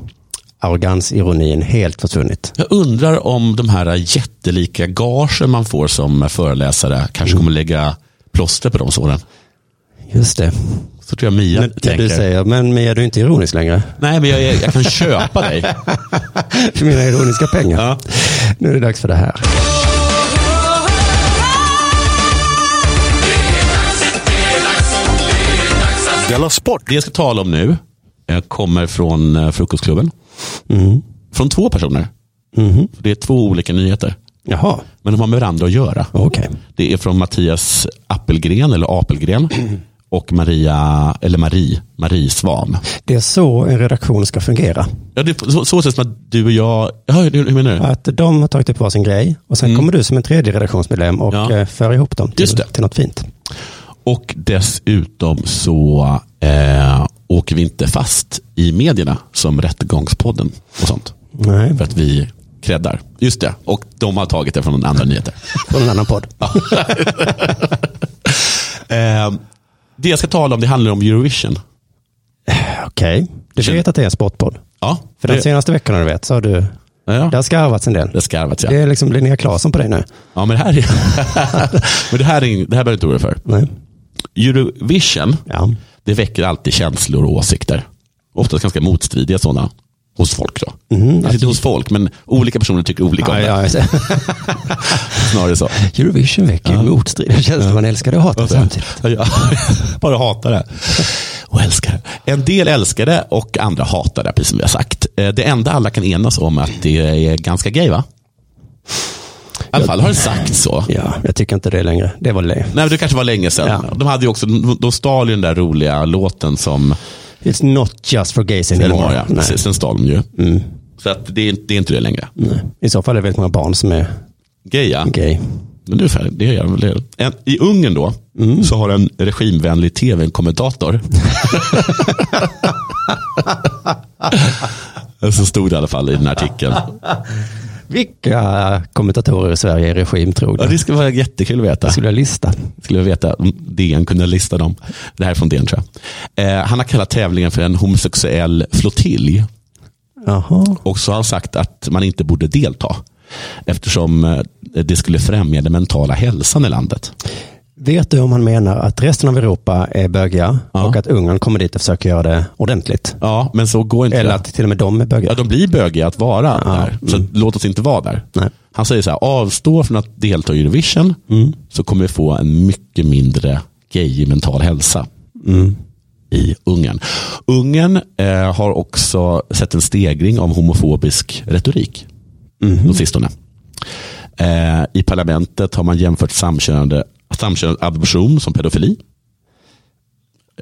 S2: arrogansironin helt försvunnit.
S3: Jag undrar om de här jättelika gagen man får som föreläsare kanske kommer lägga plåster på de såren.
S2: Just det.
S3: Så tror jag Mia
S2: Men,
S3: tänker.
S2: du säger, men Mia, du är inte ironisk längre.
S3: Nej, men jag, är- jag kan köpa dig.
S2: För mina ironiska pengar.
S3: Ja.
S2: Nu är det dags för det här.
S3: Della Sport. Det jag ska tala om nu eh, kommer från eh, Frukostklubben.
S2: Mm.
S3: Från två personer.
S2: Mhm.
S3: Det är två olika nyheter.
S2: Jaha,
S3: Men de har med varandra att göra.
S2: okej.
S3: Det är från Mattias Appelgren, eller Apelgren, och Maria, eller Marie, Marie Svan.
S2: Det är så en redaktion ska fungera.
S3: Ja, det är så, så sätt som att du och jag, ja, hur, hur menar du?
S2: Att de har tagit upp varsin grej och sen kommer du som en tredje redaktionsmedlem och
S3: Ja.
S2: Mm. ja. för ihop dem till,
S3: Just det.
S2: till något fint.
S3: Och dessutom så eh, åker vi inte fast i medierna som Rättegångspodden och sånt.
S2: Nej,
S3: För att vi creddar. Just det, och de har tagit det från andra nyheter.
S2: från en annan podd.
S3: Eh, det jag ska tala om det handlar om Eurovision.
S2: Okej, du vet att det är en sportpodd.
S3: Ja,
S2: För de
S3: det,
S2: senaste veckorna du vet så har du, det
S3: ja,
S2: har skarvats en del.
S3: det skarvats
S2: Det
S3: ja.
S2: är liksom Linnea Claesson på dig nu.
S3: ja men det här, är, men det här, är, ing- det här behöver du inte oroa dig för.
S2: Nej.
S3: Eurovision,
S2: Ja.
S3: det väcker alltid känslor och åsikter. Oftast ganska motstridiga sådana. Hos folk då. Alltså, inte hos folk, men olika personer tycker olika om
S2: Mhm, Ja,
S3: det.
S2: ja, ja.
S3: Snarare så.
S2: Eurovision väcker ju motstridiga känslor man älskar och hatar samtidigt.
S3: Ja, Bara hatar det. Och älskar det. En del älskar det och andra hatar det, precis som vi har sagt. Eh, Det enda alla kan enas om är att det är ganska gay, va? I alla fall har det sagt så.
S2: Ja, jag tycker inte det längre. Det var länge.
S3: Nej, men det kanske var länge sedan.
S2: Ja.
S3: De, hade ju också, de stal ju den där roliga låten som
S2: It's not just for gays anymore.
S3: Elmar, ja.
S2: Nej. Mm.
S3: Precis, den stal de ju. Så att det, är, det är inte det längre.
S2: Nej. I så fall är det väldigt många barn som är
S3: Gay, ja.
S2: gay.
S3: Men du Ferry, det gör väl det. En, I Ungern då,
S2: Mm.
S3: så har en regimvänlig tv-kommentator. så stod det i alla fall i den här artikeln.
S2: Vilka kommentatorer i Sverige är regimtrogna?
S3: Ja, det skulle vara jättekul att veta.
S2: Det skulle jag lista.
S3: Skulle jag veta om DN kunde lista dem. Det här är från DN tror jag. Eh, han har kallat tävlingen för en homosexuell flottilj.
S2: Jaha.
S3: Och så har han sagt att man inte borde delta. Eftersom eh, det skulle främja den mentala hälsan i landet.
S2: Vet du om han menar att resten av Europa är bögiga
S3: Ja.
S2: och att Ungern kommer dit och försöker göra det ordentligt?
S3: Ja, men så går inte
S2: Eller
S3: det.
S2: att till och med de är bögiga?
S3: Ja, de blir bögiga att vara där. Så låt oss inte vara där.
S2: mm. Nej.
S3: Han säger så här, avstå från att delta i Eurovision
S2: Mm.
S3: så kommer vi få en mycket mindre gay mental hälsa
S2: Mm.
S3: i Ungern. Ungern eh, har också sett en stegring av homofobisk retorik
S2: Mhm.
S3: de sistone. Eh, I parlamentet har man jämfört samkönade, samkönad adoption som pedofili.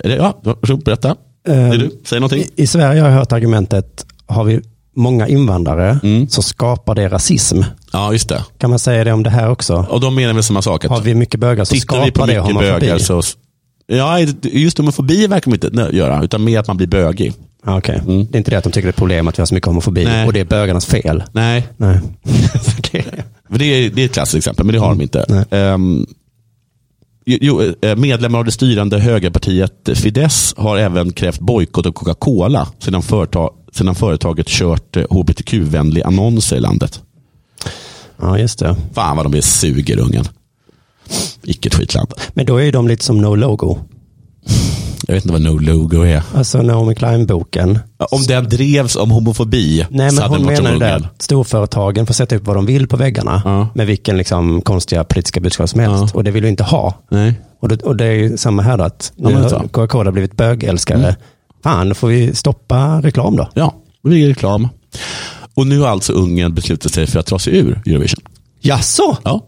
S3: Är det- Ja, Rob, berätta.
S2: Ehm,
S3: är du, säg någonting.
S2: I, I Sverige har jag hört argumentet, har vi många invandrare
S3: Mm.
S2: så skapar det rasism.
S3: Ja, just det.
S2: Kan man säga det om det här också?
S3: Och de menar väl samma sak? Att
S2: Har vi mycket bögar så
S3: Tittar vi på
S2: skapar det
S3: mycket bögar
S2: homofobi?
S3: så... Ja, just homofobi verkar man inte nö- göra, utan mer att man blir bögig.
S2: Ja, Okej, det är inte det att de tycker det är ett problem att vi har så mycket homofobi
S3: Mm. Nej.
S2: och det är bögarnas fel.
S3: Nej,
S2: Nej. det,
S3: för det är, det är ett klassiskt exempel, men det har de inte.
S2: Nej.
S3: Ehm, jo- jo, eh, medlemmar av det styrande högerpartiet Fidesz har även krävt bojkott av Coca-Cola sedan, företag, sedan företaget kört eh, hbtq-vänlig annonser i landet.
S2: ja, just det.
S3: Fan vad de är suger, ungen. Icke ett skitland.
S2: Men då är ju de lite som No Logo.
S3: Jag vet inte vad No Logo är.
S2: Alltså Naomi Klein-boken.
S3: Om den drevs om homofobi
S2: Nej,
S3: så
S2: men
S3: hade
S2: hon
S3: den varit om
S2: menar ju det
S3: Ungern.
S2: att storföretagen får sätta upp vad de vill på väggarna
S3: Ja.
S2: med vilken liksom, konstiga politiska budskap som helst.
S3: Ja.
S2: Och det vill du inte ha.
S3: Nej.
S2: Och det, och det är ju samma här då, att nu
S3: men Mm. det är
S2: har
S3: så.
S2: Coca-Cola blivit bögälskare. Fan, då får vi stoppa reklam då.
S3: Ja, det blir reklam. Och nu har alltså Ungern beslutat sig för att dra sig ur Eurovision.
S2: Jaså?
S3: Ja,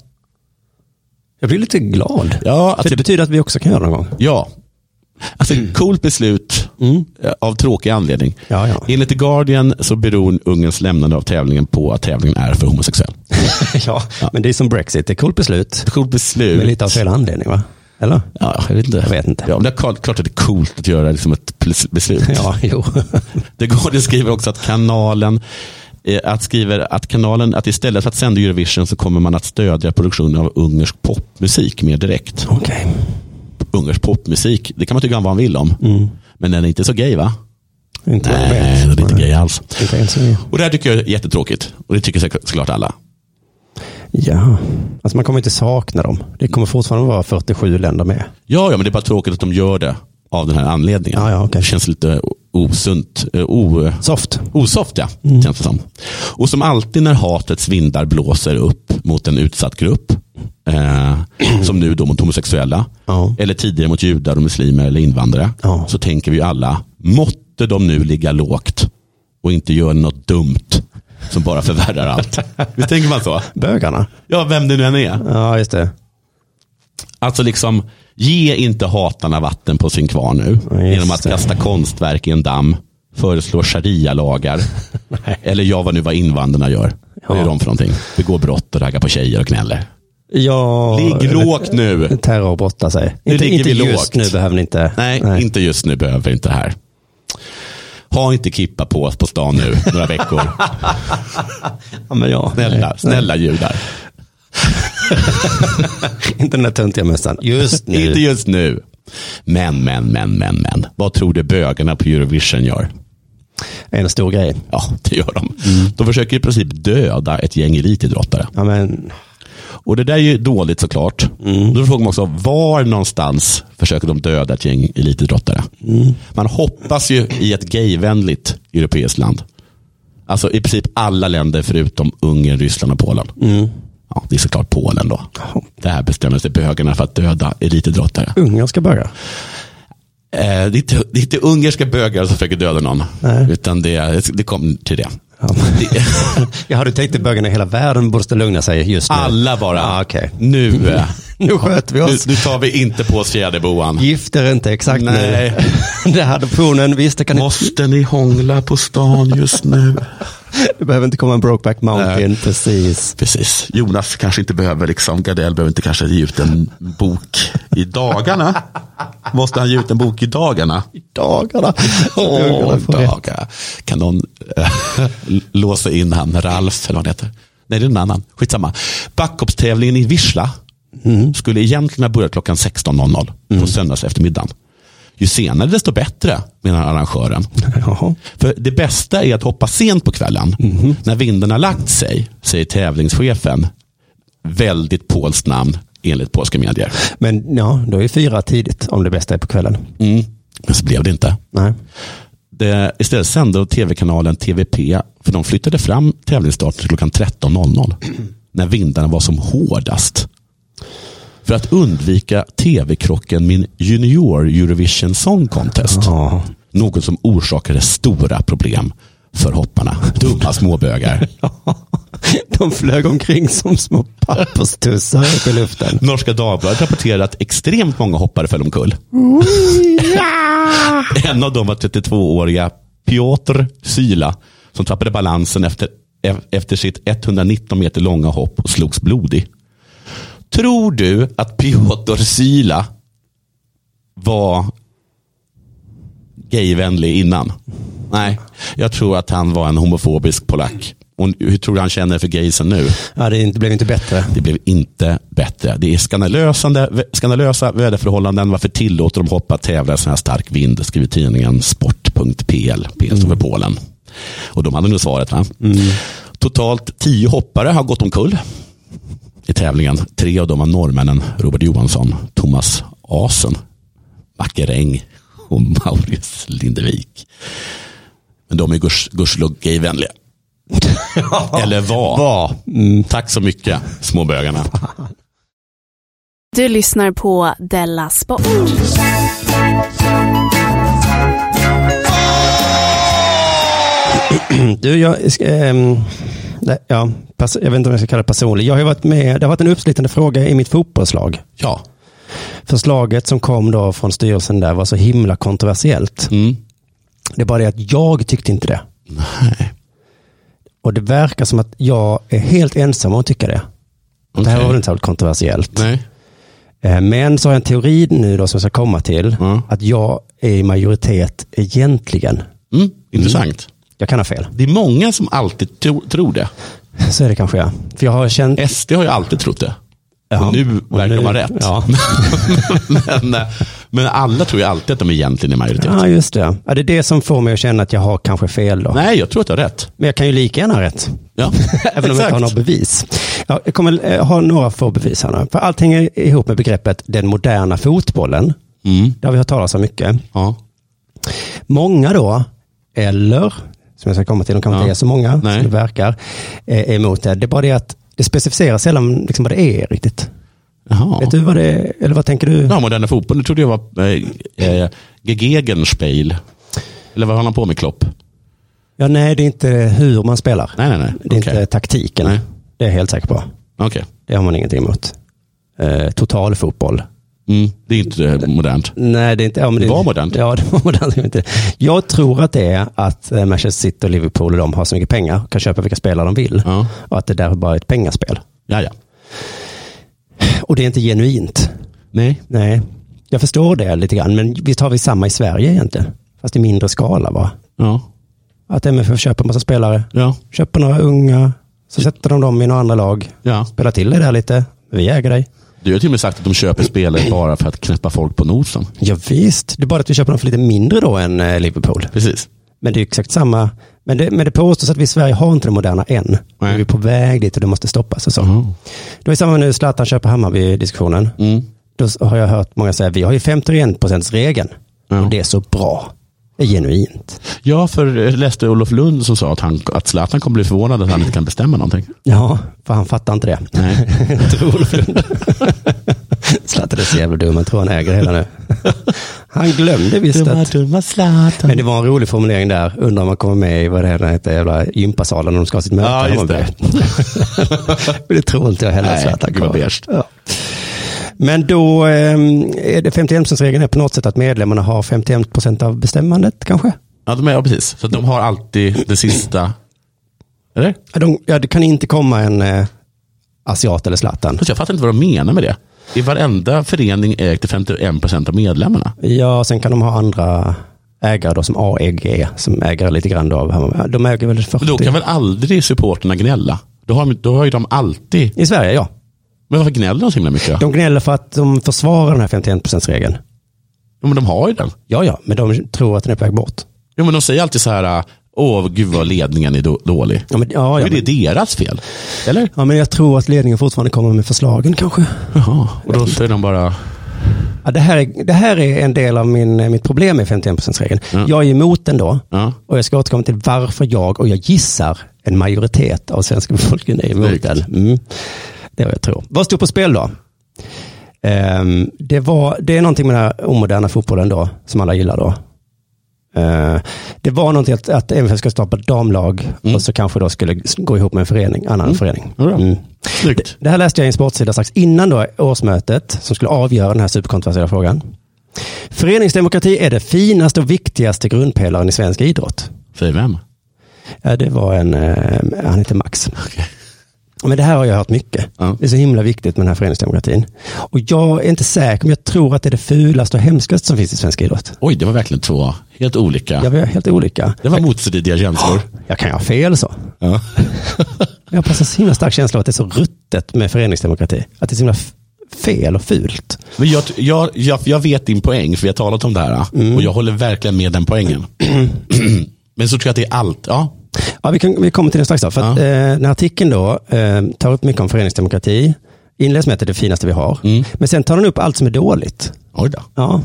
S2: Jag blir lite glad.
S3: ja,
S2: För
S3: alltså,
S2: det betyder att vi också kan göra det någon gång.
S3: ja. Alltså, coolt beslut eh, av tråkig anledning.
S2: Mm. Ja, ja.
S3: Enligt The Guardian så beror Ungerns lämnande av tävlingen på att tävlingen är för homosexuell.
S2: ja, men det är som Brexit. Det är coolt beslut.
S3: Coolt beslut.
S2: Med lite av fel anledning, va? Eller?
S3: Ja, jag vet inte.
S2: Jag vet inte.
S3: Ja, men det är klart klart att det är coolt att göra liksom ett pl- beslut.
S2: Ja, jo.
S3: The Guardian skriver också att kanalen eh, att skriver att kanalen att istället för att sända Eurovision så kommer man att stödja produktionen av ungersk popmusik mer direkt.
S2: Okej.
S3: ungersk popmusik, det kan man tycka vad man vill om. Men den är inte så gay va?
S2: Inte vad jag
S3: Mm. Nej,
S2: vet.
S3: den är inte gay alls.
S2: Inte ens jag.
S3: Och det här tycker jag är jättetråkigt. Och det tycker säkert- såklart alla.
S2: Ja. Alltså man kommer inte sakna dem. Det kommer fortfarande vara 47 länder med.
S3: Ja, ja, men det är bara tråkigt att de gör det av den här anledningen.
S2: Ja, ja, okej.
S3: Det känns lite o- osunt. eh, O,
S2: Soft.
S3: osoft ja,
S2: Mm.
S3: känns det som. Och som alltid när hatets vindar blåser upp mot en utsatt grupp, eh, som nu då mot homosexuella,
S2: Ja.
S3: eller tidigare mot judar och muslimer eller invandrare,
S2: Ja.
S3: så tänker vi ju alla, måtte de nu ligga lågt och inte göra något dumt som bara förvärrar allt. Visst tänker man så?
S2: Bögarna.
S3: Ja, vem det nu än är.
S2: Ja, just det.
S3: Alltså liksom, Ge inte hatarna vatten på sin kvarn nu
S2: Ja, just
S3: genom att
S2: det.
S3: kasta konstverk i en damm, föreslå sharia-lagar eller ja, vad nu vad invandrarna gör. Vad
S2: Ja.
S3: är de för någonting? Begår brott och raggar på tjejer och knäller.
S2: Ja,
S3: Ligg
S2: eller-
S3: lågt nu.
S2: Terrorbrotta sig.
S3: Nu
S2: inte
S3: ligger
S2: inte
S3: vi
S2: just
S3: lågt.
S2: nu behöver ni inte.
S3: Nej, inte just nu behöver vi inte det här. Ha inte kippa på oss på stan nu, några veckor.
S2: Ja, men ja.
S3: Snälla, snälla judar.
S2: Inte den där töntiga mössan. Just nu.
S3: Inte just nu. Men, men, men, men, men. Vad tror du bögarna på Eurovision gör?
S2: En stor grej.
S3: Ja, det gör de. De försöker i princip döda ett gäng elitidrottare.
S2: Ja, men,
S3: Och det där är ju dåligt såklart. Då frågar man också, var någonstans försöker de döda ett gäng elitidrottare? Man hoppas ju i ett gayvänligt europeiskt land. Alltså i princip alla länder förutom Ungern, Ryssland och Polen. Ja, det är såklart Polen då. Det här bestämmer sig bögarna för att döda elitidrottare.
S2: ungerska bögar.
S3: Eh, det, är inte, det är inte ungerska bögar som försöker döda någon.
S2: Nej.
S3: Utan det, det kom till det.
S2: Ja. Jag hade tänkt att bögarna i hela världen borde lugna sig just nu.
S3: Alla bara,
S2: Ah, okej.
S3: nu, eh,
S2: Nu sköter vi
S3: nu,
S2: oss.
S3: nu tar vi inte på oss fjäderboan.
S2: Gifter inte exakt
S3: Nej.
S2: nu. Det här adoptionen, visst det kan ni,
S3: Måste ni hångla på stan just nu?
S2: det behöver inte komma en Brokeback Mountain,
S3: Nej.
S2: precis.
S3: Precis. Jonas kanske inte behöver, liksom, Gardell behöver inte kanske ge ut en bok i dagarna. Måste han ge ut en bok i dagarna?
S2: Dagarna.
S3: Åh,
S2: Ungarna får rätt.
S3: dagar. Kan någon eh, låsa in han, Ralf eller vad han heter? Nej, det är en annan. Skitsamma. Backhoppstävlingen i Vissla skulle egentligen ha börjat klockan 16.00 på söndags eftermiddagen. Ju senare desto bättre, menar arrangören.
S2: Jaha.
S3: För det bästa är att hoppa sent på kvällen. När vinden har lagt sig, säger tävlingschefen. Väldigt polskt namn, enligt polska medier.
S2: Men ja, då är fyra tidigt om det bästa är på kvällen.
S3: Mm. Men så blev det inte.
S2: Nej.
S3: Det, istället sände tv-kanalen TVP, för de flyttade fram tävlingsstarten till klockan 13.00. När vindarna var som hårdast. För att undvika tv-krocken Min Junior Eurovision Song Contest.
S2: Ja.
S3: Något som orsakade stora problem för hopparna. Dumma småbögar.
S2: De flög omkring som små papperstussar upp i luften.
S3: Norska Dagbladet rapporterar att extremt många hoppare föll omkull. en av dem var 32-åriga Piotr Syla som tappade balansen efter, e- efter sitt 119 meter långa hopp och slogs blodig. Tror du att Piotr Syla var gayvänlig innan? Nej, jag tror att han var en homofobisk polack. Och hur tror du han känner för gaysen nu?
S2: Ja, det är inte- blev inte bättre.
S3: Det blev inte bättre. Det är skandalösande, skandalösa väderförhållanden. Varför tillåter de hoppa att tävla i sån här stark vind? Skriver tidningen sport.pl. PL står för Polen. Och de hade nog svaret. Va? Totalt tio hoppare har gått omkull i tävlingen. Tre av dem var norrmännen Robert Johansson, Thomas Asen, Macke Reng och Maurice Lindevik. Men de är guds- gudskelov gayvänliga. Eller var. var.
S2: Mm.
S3: Tack så mycket, småbögarna.
S4: Du lyssnar på Della Sport.
S2: Du, jag, ska, ehm, nej, ja, pers- jag vet inte om jag ska kalla det personlig. Jag har ju varit med, det har varit en uppslitande fråga i mitt fotbollslag.
S3: Ja.
S2: Förslaget som kom då från styrelsen där var så himla kontroversiellt.
S3: Mm.
S2: Det är bara det att jag tyckte inte det.
S3: Nej.
S2: Och det verkar som att jag är helt ensam om att tycka det. Det här
S3: Okej.
S2: var väl inte särskilt kontroversiellt.
S3: Nej.
S2: Eh, Men så har jag en teori nu då som jag ska komma till.
S3: Mm.
S2: Att jag är i majoritet egentligen.
S3: Mm. Intressant.
S2: Jag kan ha fel.
S3: Det är många som alltid tro, tror det.
S2: Så är det kanske jag. För jag har känt...
S3: SD har ju alltid trott det.
S2: Ja.
S3: Och nu
S2: Och
S3: verkar
S2: nu-
S3: de ha rätt.
S2: Ja.
S3: men, eh, men alla tror ju alltid att de egentligen är majoritet.
S2: ja, just det. Ja, det är det som får mig att känna att jag har kanske fel då.
S3: Nej, jag tror att jag har rätt.
S2: Men jag kan ju lika gärna ha rätt.
S3: Ja.
S2: Även om jag inte har några bevis. Ja, jag kommer eh, ha några få bevis här nu. För allt hänger ihop med begreppet den moderna fotbollen.
S3: Mm.
S2: Det har vi hört talas om mycket.
S3: Ja.
S2: Många då, eller, som jag ska komma till, de kanske
S3: Ja.
S2: inte är så många
S3: Nej.
S2: som det verkar, eh, är emot det. Det är bara det att det specificeras sällan liksom vad det är riktigt.
S3: Jaha.
S2: Vet du vad det är, eller vad tänker du?
S3: Ja, moderna fotboll, det trodde jag var eh, eh, Gegenspiel. Eller vad håller han på med, Klopp?
S2: Ja, nej, det är inte hur man spelar.
S3: Nej, nej, nej.
S2: Det är
S3: Okej.
S2: inte taktiken.
S3: Nej.
S2: Det är jag helt säker på.
S3: Okej.
S2: Det har man ingenting emot. Eh, total fotboll.
S3: Mm, det är inte eh, modernt.
S2: Nej, det är inte... Ja, men
S3: Det var modernt.
S2: Ja, det var modernt. det var inte- Jag tror att det är att eh, Manchester City och Liverpool och de har så mycket pengar och kan köpa vilka spelare de vill.
S3: Ja,
S2: Och att det där bara är ett pengaspel.
S3: ja. ja.
S2: Och det är inte genuint.
S3: Nej.
S2: Nej, jag förstår det lite grann. Men visst har vi samma i Sverige egentligen? Fast i mindre skala va?
S3: Ja.
S2: Att MFF köper massa spelare.
S3: Ja.
S2: Köper några unga. Så sätter de dem i några andra lag.
S3: ja.
S2: Spelar till dig där lite. Vi äger dig.
S3: Du har till och med sagt att de köper spelare bara för att knäppa folk på nosen.
S2: Ja, visst, det är bara att vi köper dem för lite mindre då än eh, Liverpool.
S3: Precis.
S2: Men det är ju exakt samma. Men det, men det påstås att vi i Sverige har inte det moderna än. Men Vi är på väg dit och det måste stoppas och så. Det var ju samma nu Zlatan köper Hammarby-diskussionen.
S3: Mm.
S2: Då s- har jag hört många säga, vi har ju 51%-regeln.
S3: Ja.
S2: Och det är så bra. Det är genuint.
S3: Ja, för jag läste Olof Lund som sa att, han, att Zlatan kommer bli förvånad att han inte kan bestämma någonting.
S2: Ja, för han fattar inte det.
S3: Nej.
S2: Zlatan är så jävla dum, han tror han äger det hela nu. Han glömde visst att...
S3: dumma Zlatan.
S2: Men det var en rolig formulering där. Undrar om man kommer med i vad det här heter, jävla gympasalen när de ska ha sitt möte.
S3: Ja,
S2: i
S3: just
S2: Hammarby. Men det tror inte jag heller.
S3: Nej,
S2: så att han
S3: gud vad
S2: kommer.
S3: beige.
S2: Ja. Men då ehm, är det 51%-regeln är på något sätt att medlemmarna har 51% av bestämmandet kanske?
S3: Ja, de är, ja, precis. Så de har alltid det sista. Eller?
S2: Ja, De, ja, det kan inte komma en eh, asiat eller Zlatan.
S3: Fast jag fattar inte vad de menar med det. I varenda förening äger 51% av medlemmarna.
S2: Ja, sen kan de ha andra ägare då som AEG, som äger lite grann då av Hammarby. De äger väl 40%?
S3: Men då kan väl aldrig supporterna gnälla? Då har, de- då har ju de alltid...
S2: I Sverige, ja.
S3: Men varför gnäller de så himla mycket?
S2: De gnäller för att de försvarar den här 51%-regeln.
S3: Jo, men de har ju den.
S2: Ja, ja, men de tror att den är på väg bort.
S3: Jo, men de säger alltid så här, åh gud vad ledningen är då- dålig.
S2: Ja, men, ja,
S3: Ja,
S2: ja,
S3: men det är
S2: men,
S3: deras fel. Eller?
S2: ja, men jag tror att ledningen fortfarande kommer med förslagen kanske.
S3: Jaha, och då säger de bara,
S2: Ja, det, här är, det här är en del av min, mitt problem med 51%-regeln.
S3: Ja.
S2: Jag är emot den då.
S3: ja,
S2: Och jag ska återkomma till varför jag, och jag gissar, en majoritet av svenska befolkningen är emot
S3: Snyggt.
S2: den. Mm. Det är vad jag tror. Vad stod på spel då? Ehm, det, var, det är någonting med den här omoderna fotbollen då, som alla gillar då. Ehm, det var någonting att, att MFF ska starta ett damlag
S3: Mm.
S2: och så kanske då skulle s- gå ihop med en förening, annan förening.
S3: Bra.
S2: Mm.
S3: snyggt.
S2: Det här läste jag i en sportsida strax innan då årsmötet som skulle avgöra den här superkontroversiella frågan. Föreningsdemokrati är det finaste och viktigaste grundpelaren i svensk idrott.
S3: Säger vem?
S2: Ja, det var en, eh, han heter Max.
S3: Okej.
S2: Men det här har jag hört mycket.
S3: Ja.
S2: Det är så himla viktigt med den här föreningsdemokratin. Och jag är inte säker, men jag tror att det är det fulaste och hemskaste som finns i svensk idrott.
S3: Oj, det var verkligen två helt olika.
S2: Ja, vi har helt olika.
S3: Det var motstridiga känslor.
S2: Jag kan ju ha fel så.
S3: Ja.
S2: Men Jag har en så himla stark känsla av att det är så ruttet med föreningsdemokrati. Att det är så himla f- fel och fult.
S3: Men jag, jag, jag, jag vet din poäng, för vi har talat om det här. Och jag håller verkligen med den poängen. Men så tror jag att det är allt. Ja,
S2: Ja, vi, kan, vi kommer till det strax. Då, för att,
S3: Ja.
S2: eh, den här artikeln då, eh, tar upp mycket om föreningsdemokrati. Inleds med att det är det finaste vi har.
S3: Mm.
S2: Men sen tar den upp allt som är dåligt.
S3: oj då.
S2: Ja.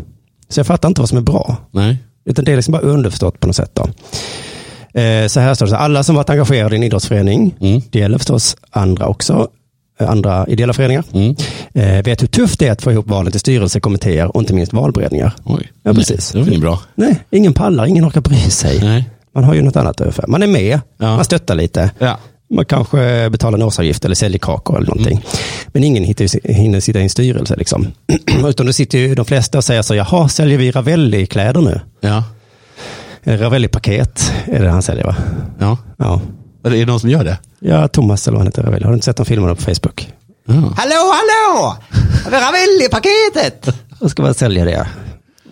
S2: Så jag fattar inte vad som är bra.
S3: Nej.
S2: Utan det är liksom bara underförstått på något sätt. Då. Eh, så här står det, så här, alla som varit engagerade i en idrottsförening,
S3: Mm.
S2: det gäller förstås andra också, eh, andra ideella föreningar,
S3: Mm.
S2: eh, vet hur tufft det är att få ihop valen till styrelse, kommittéer och inte minst valberedningar.
S3: Oj.
S2: Ja, precis.
S3: Nej, det var inget bra.
S2: Nej, ingen pallar, ingen orkar bry sig.
S3: Nej.
S2: Man har ju något annat ungefär. Man är med,
S3: Ja.
S2: man stöttar lite.
S3: Ja.
S2: Man kanske betalar en årsavgift eller säljer kakor eller någonting.
S3: Mm.
S2: Men ingen hittar- hinner sitta i en styrelse. Liksom. Utan då sitter ju de flesta och säger så, jaha, säljer vi Ravelli-kläder nu?
S3: Ja.
S2: Eh, Ravelli-paket är det han säljer va?
S3: ja.
S2: Ja.
S3: Är det någon som gör det?
S2: Ja, Thomas eller vad han heter, Ravelli. Har du inte sett de filmerna på Facebook?
S3: Ja.
S2: Hallå, hallå! Ravelli-paketet! Då ska man sälja det.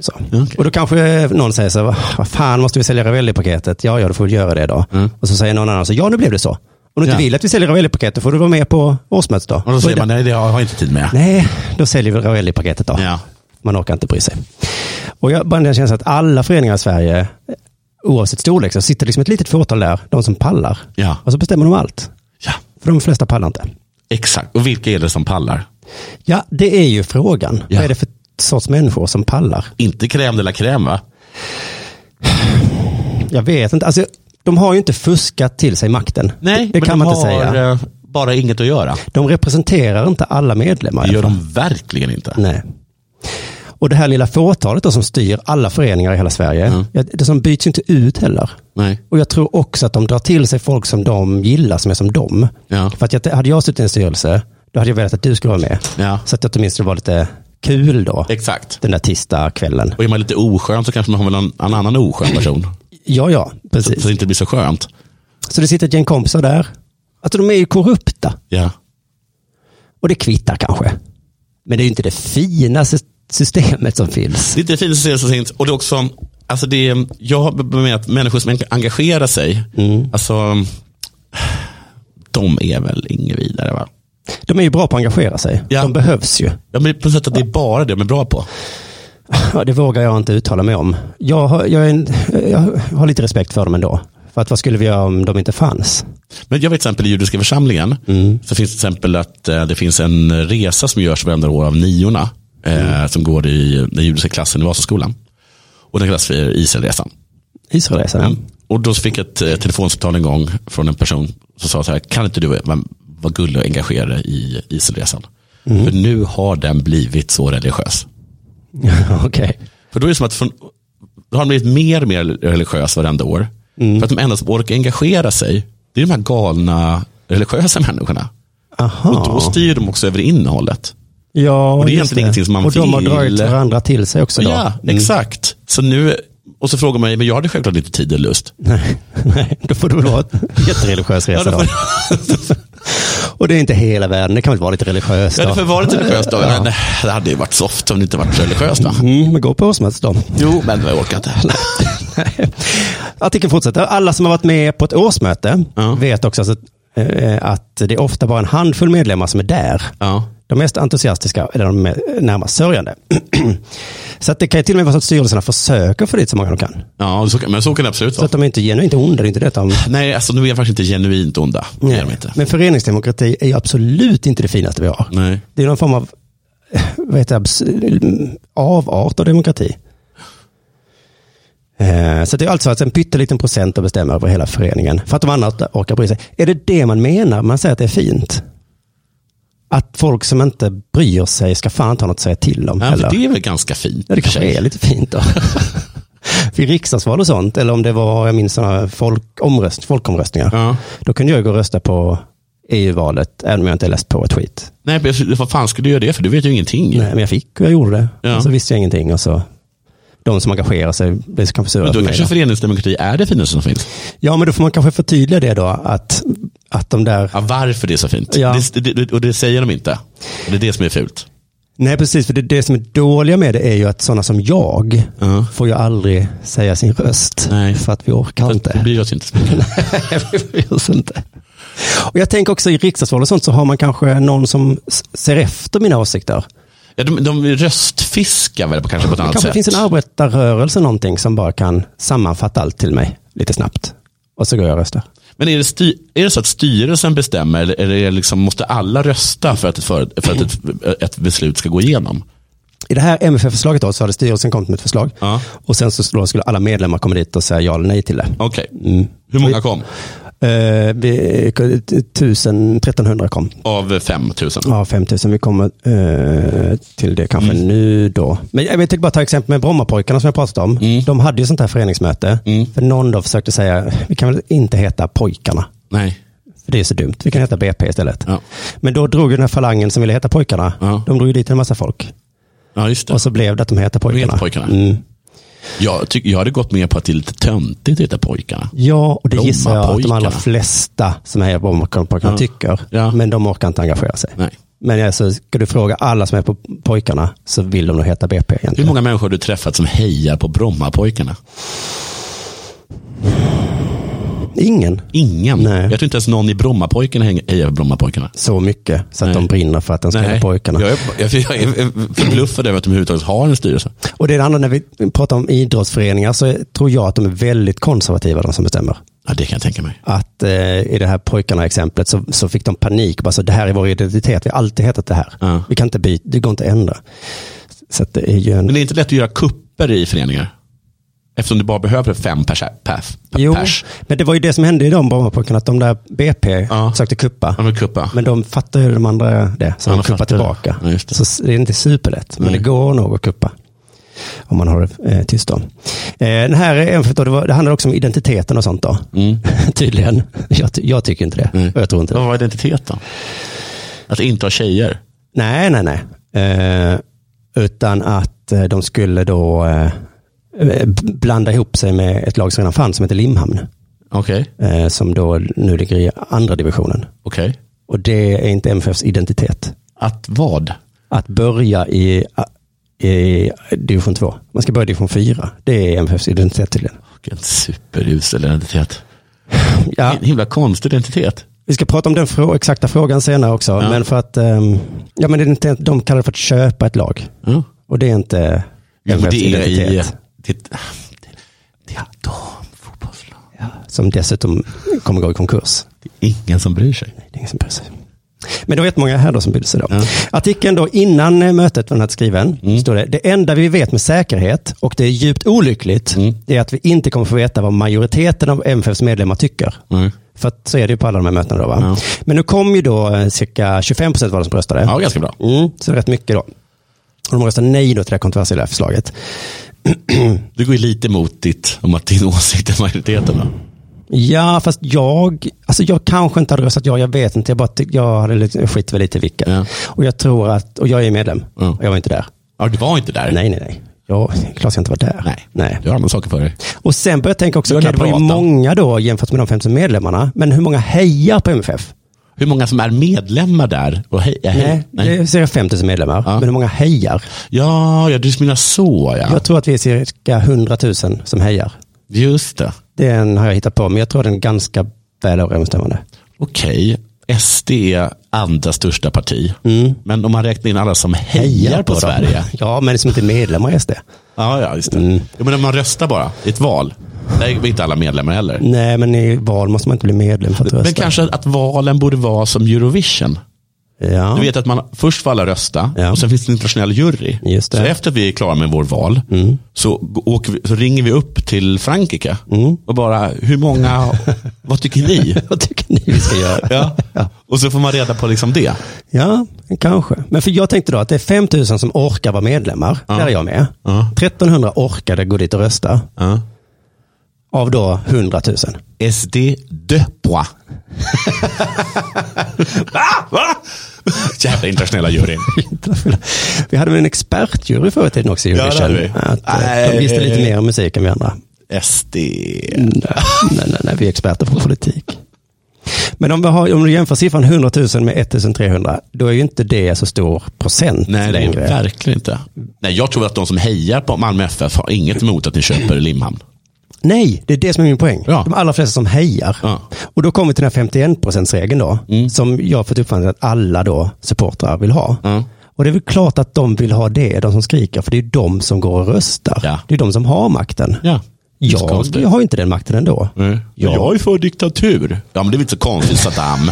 S2: Så.
S3: Okej.
S2: Och då kanske eh, någon säger så här, vad fan måste vi sälja Ravelli-paketet? Ja, ja, då får vi göra det då. Och så säger någon annan så, ja, nu blev det så. Om du inte
S3: Mm. Ja.
S2: vill att vi säljer Ravelli-paketet, då får du vara med på årsmötet då.
S3: Och då
S2: Så
S3: säger
S2: är
S3: man, nej det har jag inte tid med.
S2: Nej, då säljer vi Ravelli-paketet då.
S3: Ja.
S2: Man orkar inte bry sig. Och jag bara den känslan att alla föreningar i Sverige, oavsett storlek, så sitter liksom ett litet fåtal där, de som pallar.
S3: Ja.
S2: Och så bestämmer de allt.
S3: ja,
S2: För de flesta pallar inte.
S3: exakt. Och vilka är det som pallar?
S2: Ja, det är ju frågan.
S3: Ja.
S2: Vad är det för sorts människor som pallar?
S3: Inte crème de la crème va?
S2: Jag vet inte. Alltså, de har ju inte fuskat till sig makten.
S3: Nej,
S2: det
S3: men
S2: kan
S3: de
S2: man inte
S3: har
S2: säga.
S3: eh, bara inget att göra.
S2: De representerar inte alla medlemmar. i
S3: Det
S2: alla
S3: gör
S2: fall.
S3: de verkligen inte.
S2: Nej. Och det här lilla fåtalet då som styr alla föreningar i hela Sverige,
S3: Mm.
S2: ja, det som byts ju inte ut heller.
S3: Nej.
S2: Och jag tror också att de drar till sig folk som de gillar, som är som dem.
S3: Ja.
S2: För att jag, hade jag suttit i en styrelse, då hade jag velat att du skulle vara med.
S3: Ja.
S2: Så att jag åtminstone var lite kul då,
S3: Exakt.
S2: den där tisdagskvällen.
S3: Och är man lite oskön så kanske man har väl en, en annan oskön person.
S2: Ja, ja,
S3: så,
S2: precis.
S3: så det inte blir så skönt.
S2: Så det sitter ett gäng kompisar där. Alltså de är ju korrupta.
S3: Ja.
S2: Och det kvittar kanske. Men det är ju inte det finaste systemet som finns.
S3: Det är inte fint att se det så sent. Och det är också, alltså det är, jag har med att människor som engagerar sig, alltså, de är väl inget vidare va?
S2: De är ju bra på att engagera sig.
S3: Ja.
S2: De behövs ju.
S3: Ja, men på något sätt att det är bara det de är bra på.
S2: Ja, det vågar jag inte uttala mig om. Jag har, jag, är en, jag har lite respekt för dem ändå. För att vad skulle vi göra om de inte fanns?
S3: Men jag vet till exempel i judiska församlingen, så finns det till exempel att eh, det finns en resa som görs varje år av niorna, eh, som går i den judiska klassen i Vasaskolan. Och den kallas för Israelresan.
S2: Israelresan.
S3: Och då fick jag ett eh, telefonsamtal en gång från en person som sa så här, kan inte du vara vara gullig och engagera dig i Israelresan? För nu har den blivit så religiös. Mm.
S2: Ja. Okej.
S3: För då är det som att från, då har de blivit mer och mer religiös varenda år. För att de enda som orkar engagera sig, det är de här galna religiösa människorna. Och då
S2: Aha.
S3: styr de också över innehållet.
S2: Ja,
S3: och det är
S2: just
S3: egentligen ingenting som man
S2: Och de har
S3: vill.
S2: dragit varandra till sig också. Då. Mm.
S3: Ja, exakt. Så nu, och så frågar man mig, men jag hade självklart lite tid och lust.
S2: Nej, nej, då får det väl vara en jättereligiös
S3: Ja,
S2: resa.
S3: då får-
S2: då. Och det är inte hela världen, det kan väl vara lite religiöst.
S3: Ja, det får
S2: då.
S3: vara lite religiöst då. Men eh, det hade ju varit soft om det inte varit religiöst va?
S2: Mm, men gå på årsmötet då.
S3: Jo, men jag orkar inte.
S2: Artikeln fortsätter. Alla som har varit med på ett årsmöte
S3: Ja.
S2: vet också att, eh, att det är ofta bara en handfull medlemmar som är där.
S3: Ja.
S2: De mest entusiastiska är de med- närmast sörjande. så att det kan ju till och med vara så att styrelserna försöker få dit så många de kan.
S3: Ja, så, kan- men så kan det absolut
S2: Så
S3: vara.
S2: att de är inte genuint onda, det är inte det. Utan,
S3: Nej, alltså nu är jag faktiskt inte genuint onda. Det är de inte.
S2: Men föreningsdemokrati är ju absolut inte det finaste vi har.
S3: Nej.
S2: Det är någon form av vad heter det, abs- avart av demokrati. Eh, Så det är alltså att en pytteliten procent de bestämmer över hela föreningen. För att de andra inte orkar bry sig. Är det det man menar? Man säger att det är fint. Att folk som inte bryr sig ska fan inte ha något att säga till om.
S3: Ja,
S2: heller.
S3: för det är väl ganska fint.
S2: Ja, det kanske
S3: i och för
S2: är
S3: sig.
S2: lite fint då. Vid riksdagsval och sånt, eller om det var, jag minns sådana folk, omröst, folkomröstningar.
S3: Ja.
S2: Då kunde jag gå och rösta på EU-valet, även om jag inte läst på ett skit.
S3: Nej, men vad fan skulle du göra det för? Du vet ju ingenting.
S2: Nej, men jag fick och jag gjorde det.
S3: Ja.
S2: Och så visste jag ingenting. Och så, de som engagerar sig blir kanske sura
S3: Men
S2: på
S3: då
S2: mig.
S3: kanske
S2: då.
S3: föreningsdemokrati är det finaste som finns.
S2: Ja, men då får man kanske förtydliga det då. Att, att de där...
S3: Ja, varför det är så fint.
S2: Ja.
S3: Det, det- det, och det säger de inte. Och det är det som är fult.
S2: Nej, precis. För det, det som är dåliga med det är ju att sådana som jag
S3: Ja.
S2: får ju aldrig säga sin röst.
S3: Nej.
S2: För att vi orkar inte.
S3: Det bryr oss inte så mycket.
S2: Vi bryr oss inte. Och jag tänker också i riksdagsval och sånt så har man kanske någon som s- ser efter mina åsikter.
S3: Ja, de, de röstfiskar väl på, kanske på ett
S2: Det
S3: annat
S2: kanske
S3: sätt.
S2: finns en arbetarrörelse någonting som bara kan sammanfatta allt till mig lite snabbt. Och så går jag och röstar.
S3: Men är det, sty, är det så att styrelsen bestämmer eller, eller är det liksom, måste alla rösta för att, ett, för, för att ett, ett beslut ska gå igenom?
S2: I det här MFF-förslaget då, så hade styrelsen kommit med ett förslag.
S3: Ja.
S2: Och sen så då skulle alla medlemmar komma dit och säga ja eller nej till det.
S3: Okej.
S2: Mm.
S3: Hur många kom?
S2: Eh, vi, 1000, 1300 kom.
S3: Av 5000?
S2: Ja, 5000. Vi kommer eh, till det kanske
S3: Mm.
S2: nu då. Men jag tänkte bara ta exempel med Brommapojkarna som jag pratat om.
S3: Mm.
S2: De hade ju sånt här föreningsmöte. För någon då försökte säga, vi kan väl inte heta pojkarna.
S3: Nej.
S2: För det är så dumt. Vi kan heta BP istället.
S3: Ja.
S2: Men då drog ju den här falangen som ville heta pojkarna.
S3: Ja.
S2: De drog ju dit en massa folk.
S3: Ja, just det.
S2: Och så blev det att de hette pojkarna.
S3: heter Pojkarna.
S2: Mm.
S3: Jag, tycker jag hade gått med på att det är lite töntigt att heta pojkarna.
S2: Ja, och det gissar jag att de
S3: Brommapojkarna.
S2: allra flesta som är på Brommapojkarna
S3: Ja.
S2: tycker.
S3: Ja.
S2: Men de orkar inte engagera sig.
S3: Nej.
S2: Men alltså, ska du fråga alla som är på pojkarna så vill de nog heta BP
S3: Hur
S2: egentligen.
S3: många människor har du träffat som hejar på Brommapojkarna?
S2: Ingen
S3: Ingen.
S2: Nej.
S3: Jag tror inte ens någon i Brommapojkarna hänger- hejar på Brommapojkarna.
S2: så mycket så att
S3: Nej.
S2: de brinner för att den ska heta pojkarna.
S3: Jag, är, jag, jag är förbluffad över att de överhuvudtaget har en styrelse.
S2: Och det är det andra, när vi pratar om idrottsföreningar så tror jag att de är väldigt konservativa de som bestämmer.
S3: Ja, det kan jag tänka mig.
S2: Att eh, i det här pojkarna-exemplet så, så fick de panik. Bara så, det här är vår identitet, vi har alltid hetat det här.
S3: Ja.
S2: Vi kan inte byta, det går inte att ändra. Så att det är ju en...
S3: Men det är inte lätt att göra kupper i föreningar. Eftersom du bara behöver fem pers. pers,
S2: Jo,
S3: pers.
S2: men det var ju det som hände i de Brommapojkarna, att de där BP
S3: Ja.
S2: sökte kuppa.
S3: Ja, men kuppa.
S2: Men de fattar ju de andra det, så
S3: Ja,
S2: de
S3: de
S2: kuppar
S3: fattar det.
S2: tillbaka.
S3: Ja, just det.
S2: Så det är inte superlätt, men
S3: Nej.
S2: det går nog att kuppa. Om man har det eh, tyst om. Eh, den här, är en för- då, det, var, det handlar också om identiteten och sånt då.
S3: Mm.
S2: Tydligen. Jag, ty- jag tycker inte det. Och jag tror inte det.
S3: Vad var identiteten? Att inte ha tjejer.
S2: Nej, nej, nej. Eh, Utan att eh, de skulle då eh, eh, blanda ihop sig med ett lag som redan fanns som heter Limhamn.
S3: Okej.
S2: Eh, som då nu ligger i andra divisionen.
S3: Okej.
S2: Och det är inte MFFs identitet.
S3: Att vad?
S2: Att börja i, i division 2. Man ska börja i division 4. Det är MFFs identitet tydligen.
S3: Vilken superusel identitet.
S2: Ja,
S3: En himla konstig identitet.
S2: vi ska prata om den frå exakta frågan senare också.
S3: Ja.
S2: Men för att, ehm, ja men det är inte, de kallar det för att köpa ett lag.
S3: Ja.
S2: Och det är inte
S3: Jo,
S2: MFFs
S3: det är
S2: identitet.
S3: i... Det, det är damfotbollslag.
S2: Som dessutom kommer gå i konkurs.
S3: Det är ingen som bryr sig.
S2: Det är ingen som bryr sig. Men det var jättemånga här då som brydde sig. Då.
S3: Ja. Mm.
S2: Artikeln då innan eh, mötet var den här skriven. Står det, det enda vi vet med säkerhet, och det är djupt olyckligt,
S3: Mm.
S2: det är att vi inte kommer få veta vad majoriteten av MFFs medlemmar tycker.
S3: Mm.
S2: För att så är det ju på alla de här mötena. Då, va?
S3: Ja.
S2: Men nu kom ju då eh, cirka 25 procent var de som röstade.
S3: Ja, ganska bra.
S2: Mm, så rätt mycket då. Och de röstade nej då till det här kontroversiella förslaget.
S3: Du går ju lite emot ditt, om att din åsikt är majoriteten. va?
S2: Ja, fast jag, alltså jag kanske inte hade röstat ja, jag vet inte. Jag, bara, tyck- jag hade lite, jag skit väl lite i vilka.
S3: Ja.
S2: Och jag tror att, och jag är medlem,
S3: Ja.
S2: och jag var inte där.
S3: Ja, du var inte där.
S2: Nej, nej, nej. Jag, klart jag inte var där.
S3: Nej. Du har andra saker för dig.
S2: Och sen började jag tänka också,
S3: Du har
S2: okej, det var ju
S3: pratan.
S2: många då jämfört med de 15 medlemmarna, men hur många hejar på MFF?
S3: Hur många som är medlemmar där? Och hej, eh, hej,
S2: Nej, Mm. det är cirka 5000 medlemmar,
S3: Ja.
S2: men hur många hejar?
S3: Ja, ja, du menar så ja.
S2: Jag tror att vi är cirka 100 000 som hejar.
S3: Just det.
S2: Den har jag hittat på, men jag tror den är ganska väl överensstämmande.
S3: Okej, SD är andra största parti. Men om man räknar in alla som hejar på,
S2: dem.
S3: Sverige.
S2: Ja, men som inte är medlemmar i SD.
S3: Ja, ja, just det. Ja, men om man röstar bara i ett val. Där är inte alla medlemmar heller.
S2: Nej, men i val måste man inte bli medlem för att rösta.
S3: Men kanske att valen borde vara som Eurovision.
S2: Ja.
S3: Du vet att man först får alla rösta
S2: Ja.
S3: och sen finns det en internationell jury.
S2: Just det. Mm.
S3: Så efter att vi är klara med vår val så, g- åker vi, så ringer vi upp till Frankrike
S2: Mm.
S3: och bara, hur många, vad tycker ni?
S2: Vad tycker ni vi ska göra?
S3: Ja. Och så får man reda på liksom det.
S2: Ja, kanske. Men för jag tänkte då att det är 5 000 som orkar vara medlemmar. Där är jag med. 1300 orkade gå dit och rösta.
S3: Ja.
S2: Av då 100 000.
S3: SD de pois. Va? Ah, Va? Jävla internationella juryn.
S2: Vi hade väl en expertjury förr i tiden också i
S3: Ja, det hade vi.
S2: Att, eh, de
S3: Nej.
S2: visste lite mer om musik än vi andra. Mm,
S3: SD.
S2: nej, nej, nej, vi är experter på politik. Men om, vi har, om du jämför siffran 100 000 med 1300, då är ju inte det så stor procent
S3: Nej, det är
S2: längre.
S3: verkligen inte. Nej, jag tror att de som hejar på Malmö FF har inget emot att ni köper Limhamn.
S2: Nej, det är det som är min poäng.
S3: Ja.
S2: De allra flesta som hejar.
S3: Ja. Mm.
S2: Och då kommer vi till den här 51%-regeln då, som jag har fått uppfattningen att alla då supportrar vill ha.
S3: Ja.
S2: Och det är väl klart att de vill ha det, de som skriker, för det är ju de som går och röstar.
S3: Ja.
S2: Det är de som har makten.
S3: Ja.
S2: Jag, jag har ju inte den makten ändå.
S3: Mm.
S2: Ja.
S3: Jag är för diktatur. Ja, men det är väl inte så konstigt Saddam.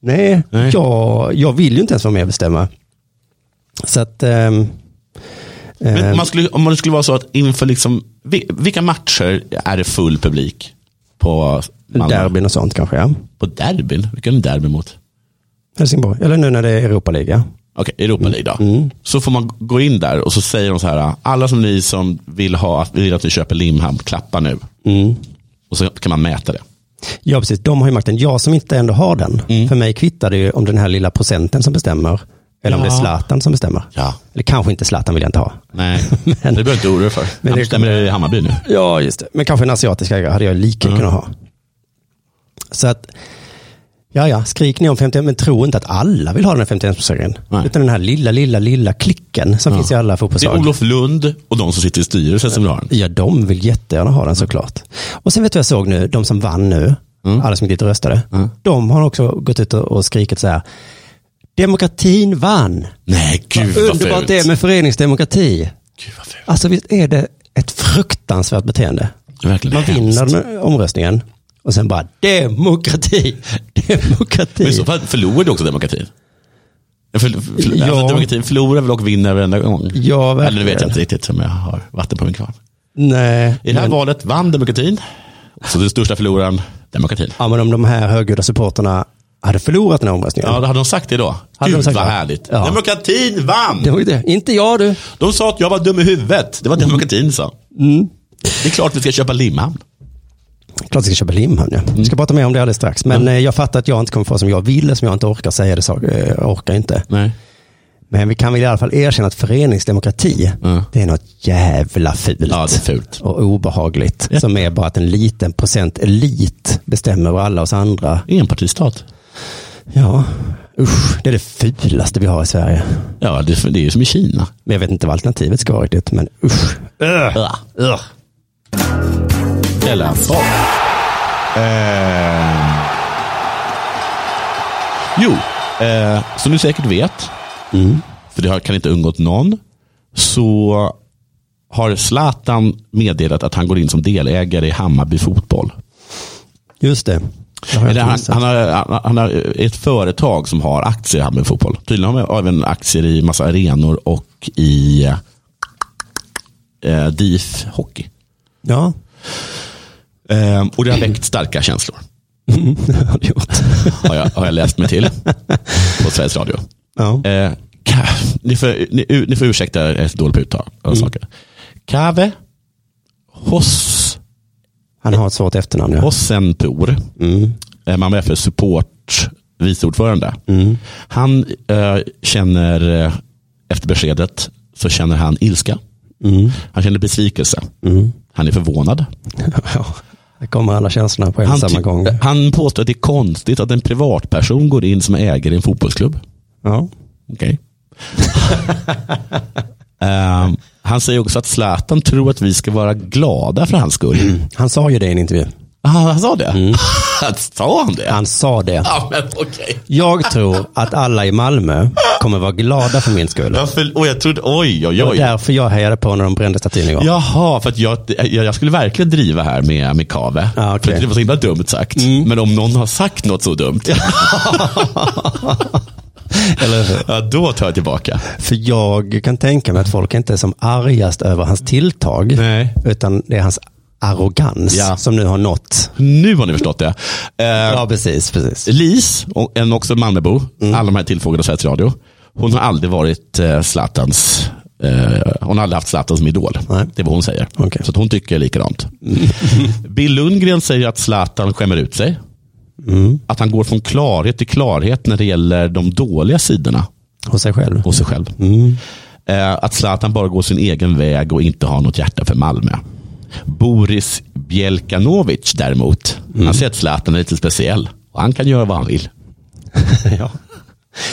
S2: Nej,
S3: Nej.
S2: Jag, jag vill ju inte ens vara med och bestämma. Så att... ehm,
S3: Men
S2: ehm,
S3: om man skulle, om det skulle vara så att inför liksom, vi- vilka matcher är det full publik på Malmö?
S2: Derbyn och sånt kanske, ja.
S3: På derbyn? Vilka är det derby mot?
S2: Helsingborg, eller nu när det är Europa-liga.
S3: Okej, Europa League då. Så får man gå in där och så säger de så här, alla som ni som vill, ha, vill att vi köper Limhamn, klappa nu. Mm. Och så kan man mäta det.
S2: Ja, precis. De har ju makten. Jag som inte ändå har den.
S3: Mm.
S2: För mig kvittar det ju om den här lilla procenten som bestämmer. Eller om det är
S3: Ja.
S2: Zlatan som bestämmer.
S3: Ja.
S2: Eller kanske inte Zlatan vill jag inte ha.
S3: Nej, det behöver du inte oroa dig för. Men
S2: det-
S3: det bestämmer det i Hammarby nu.
S2: Ja, just det. Men kanske en asiatisk ägare hade jag lika
S3: Mm.
S2: kunnat ha. Så att, ja, ja, skrik ni om 51, men tro inte att alla vill ha den här 51-procenten.
S3: Nej.
S2: Utan den här lilla, lilla, lilla klicken som finns i alla
S3: Det är
S2: fotbollslag.
S3: Olof Lund och de som sitter i styrelsen som vill ha den.
S2: Ja, de vill jättegärna ha den såklart. Och sen vet du vad jag såg nu, de som vann nu,
S3: Mm.
S2: alla som gick dit och röstade, de har också gått ut och- och skrikit så här, demokratin vann.
S3: Nej, gud vad
S2: Underbart
S3: fult.
S2: det är med föreningsdemokrati.
S3: Gud vad fult.
S2: Alltså visst är det ett fruktansvärt beteende?
S3: Det är verkligen
S2: Man
S3: hemskt.
S2: vinner den omröstningen och sen bara demokrati,
S3: Men i så
S2: demokrati.
S3: fall förlorar du också demokratin. För, för,
S2: Ja.
S3: alltså, demokratin förlorar väl och vinner varenda gång.
S2: Ja, verkligen.
S3: Eller det vet jag inte riktigt som jag har vatten på min kvarn.
S2: Nej,
S3: I det här valet vann demokratin. Så den största förloraren, demokratin.
S2: ja, men om de här högljudda supporterna hade förlorat den här omröstningen.
S3: Ja, då hade de sagt det då?
S2: Hade
S3: Gud
S2: de sagt
S3: vad
S2: det?
S3: härligt.
S2: Ja.
S3: Demokratin vann!
S2: Det var ju det. Mm. Inte jag du.
S3: De sa att jag var dum i huvudet. Det var demokratin sa. Det är klart vi ska köpa Limhamn.
S2: Klart vi ska köpa limhamn. Ja.
S3: Mm.
S2: Vi ska prata mer om det alldeles strax. Men eh, jag fattar att jag inte kommer få som jag vill, som jag inte orkar säga det. sak- eh, Jag orkar inte.
S3: Nej.
S2: Men vi kan väl i alla fall erkänna att föreningsdemokrati,
S3: Ja.
S2: det är något jävla fult.
S3: Mm. Ja, det är fult.
S2: och obehagligt. Som är bara att en liten procent elit bestämmer över alla oss andra.
S3: Enpartistat.
S2: Ja, usch, det är det fulaste vi har i Sverige.
S3: Ja, det, det är ju som i Kina.
S2: Men jag vet inte vad alternativet ska vara riktigt, men usch.
S3: Ugh. Ugh. Eller vad? Eh. Jo, eh, som ni säkert vet, för det har- kan inte undgått någon, så har Zlatan meddelat att han går in som delägare i Hammarby fotboll.
S2: Just det. Det har
S3: Eller
S2: jag inte
S3: han,
S2: missat.
S3: han, har, han- han har ett företag som har aktier i Hammarby fotboll. Tydligen har de även aktier i massa arenor och i eh, DIF hockey.
S2: Ja,
S3: Ehm, och det har väckt starka känslor.
S2: det har det gjort.
S3: Har jag, har jag läst mig till på Sveriges Radio.
S2: Ja.
S3: Eh, ka- ni, får, ni, ni får ursäkta jag är så dålig på uttal
S2: Mm.
S3: av saker. Kave Hos,
S2: Han har ett svårt efternamn. Ja.
S3: Hossenpor,
S2: Mm.
S3: eh, Malmö FF support vice ordförande.
S2: Mm.
S3: Han eh, känner, eh, efter beskedet, så känner han ilska.
S2: Mm.
S3: Han känner besvikelse.
S2: Mm.
S3: Han är förvånad.
S2: Ja. Här kommer alla känslorna på en
S3: Han,
S2: samma
S3: ty-
S2: gång.
S3: han påstår att det är konstigt att en privatperson går in som ägare i en fotbollsklubb.
S2: Ja.
S3: Okej. Ehm, han säger också att Zlatan tror att vi ska vara glada för hans skull. Ah,
S2: Han sa ju det i en intervju.
S3: Han, han sa det? sa han det?
S2: Han sa det.
S3: Mm. Ja, men okej.
S2: Jag tror att alla i Malmö kommer vara glada för min skull.
S3: Varför- Och jag trodde, oj, oj,
S2: Det var
S3: oj.
S2: därför jag hejade på när de brände statyn igår.
S3: Jaha, för att jag, jag, jag skulle verkligen driva här med, med Kave.
S2: Ja, okej.
S3: För det var så himla dumt sagt. Men om någon har sagt något så dumt,
S2: Eller hur?
S3: ja, då tar jag tillbaka.
S2: För jag kan tänka mig att folk inte är som argast över hans tilltag.
S3: Nej.
S2: Utan det är hans arrogans
S3: Ja.
S2: som nu har nått.
S3: Nu har ni förstått det. Eh,
S2: Ja, precis. precis.
S3: Lis, och en också Malmöbo,
S2: Mm.
S3: alla de här tillfrågade av Sveriges Radio. Hon har aldrig varit eh, Zlatans, eh, hon har aldrig haft Zlatan som idol.
S2: Nej.
S3: Det är vad hon säger.
S2: Okej. Mm.
S3: Så att hon tycker likadant. Bill Lundgren säger att Zlatan skämmer ut sig.
S2: Mm.
S3: Att han går från klarhet till klarhet när det gäller de dåliga sidorna
S2: Hos sig själv.
S3: hos sig själv.
S2: Mm.
S3: Eh, att Zlatan bara går sin egen väg och inte har något hjärta för Malmö. Boris Bjelkanovic däremot,
S2: Mm.
S3: han säger att Zlatan är lite speciell. Och han kan göra vad han vill.
S2: ja.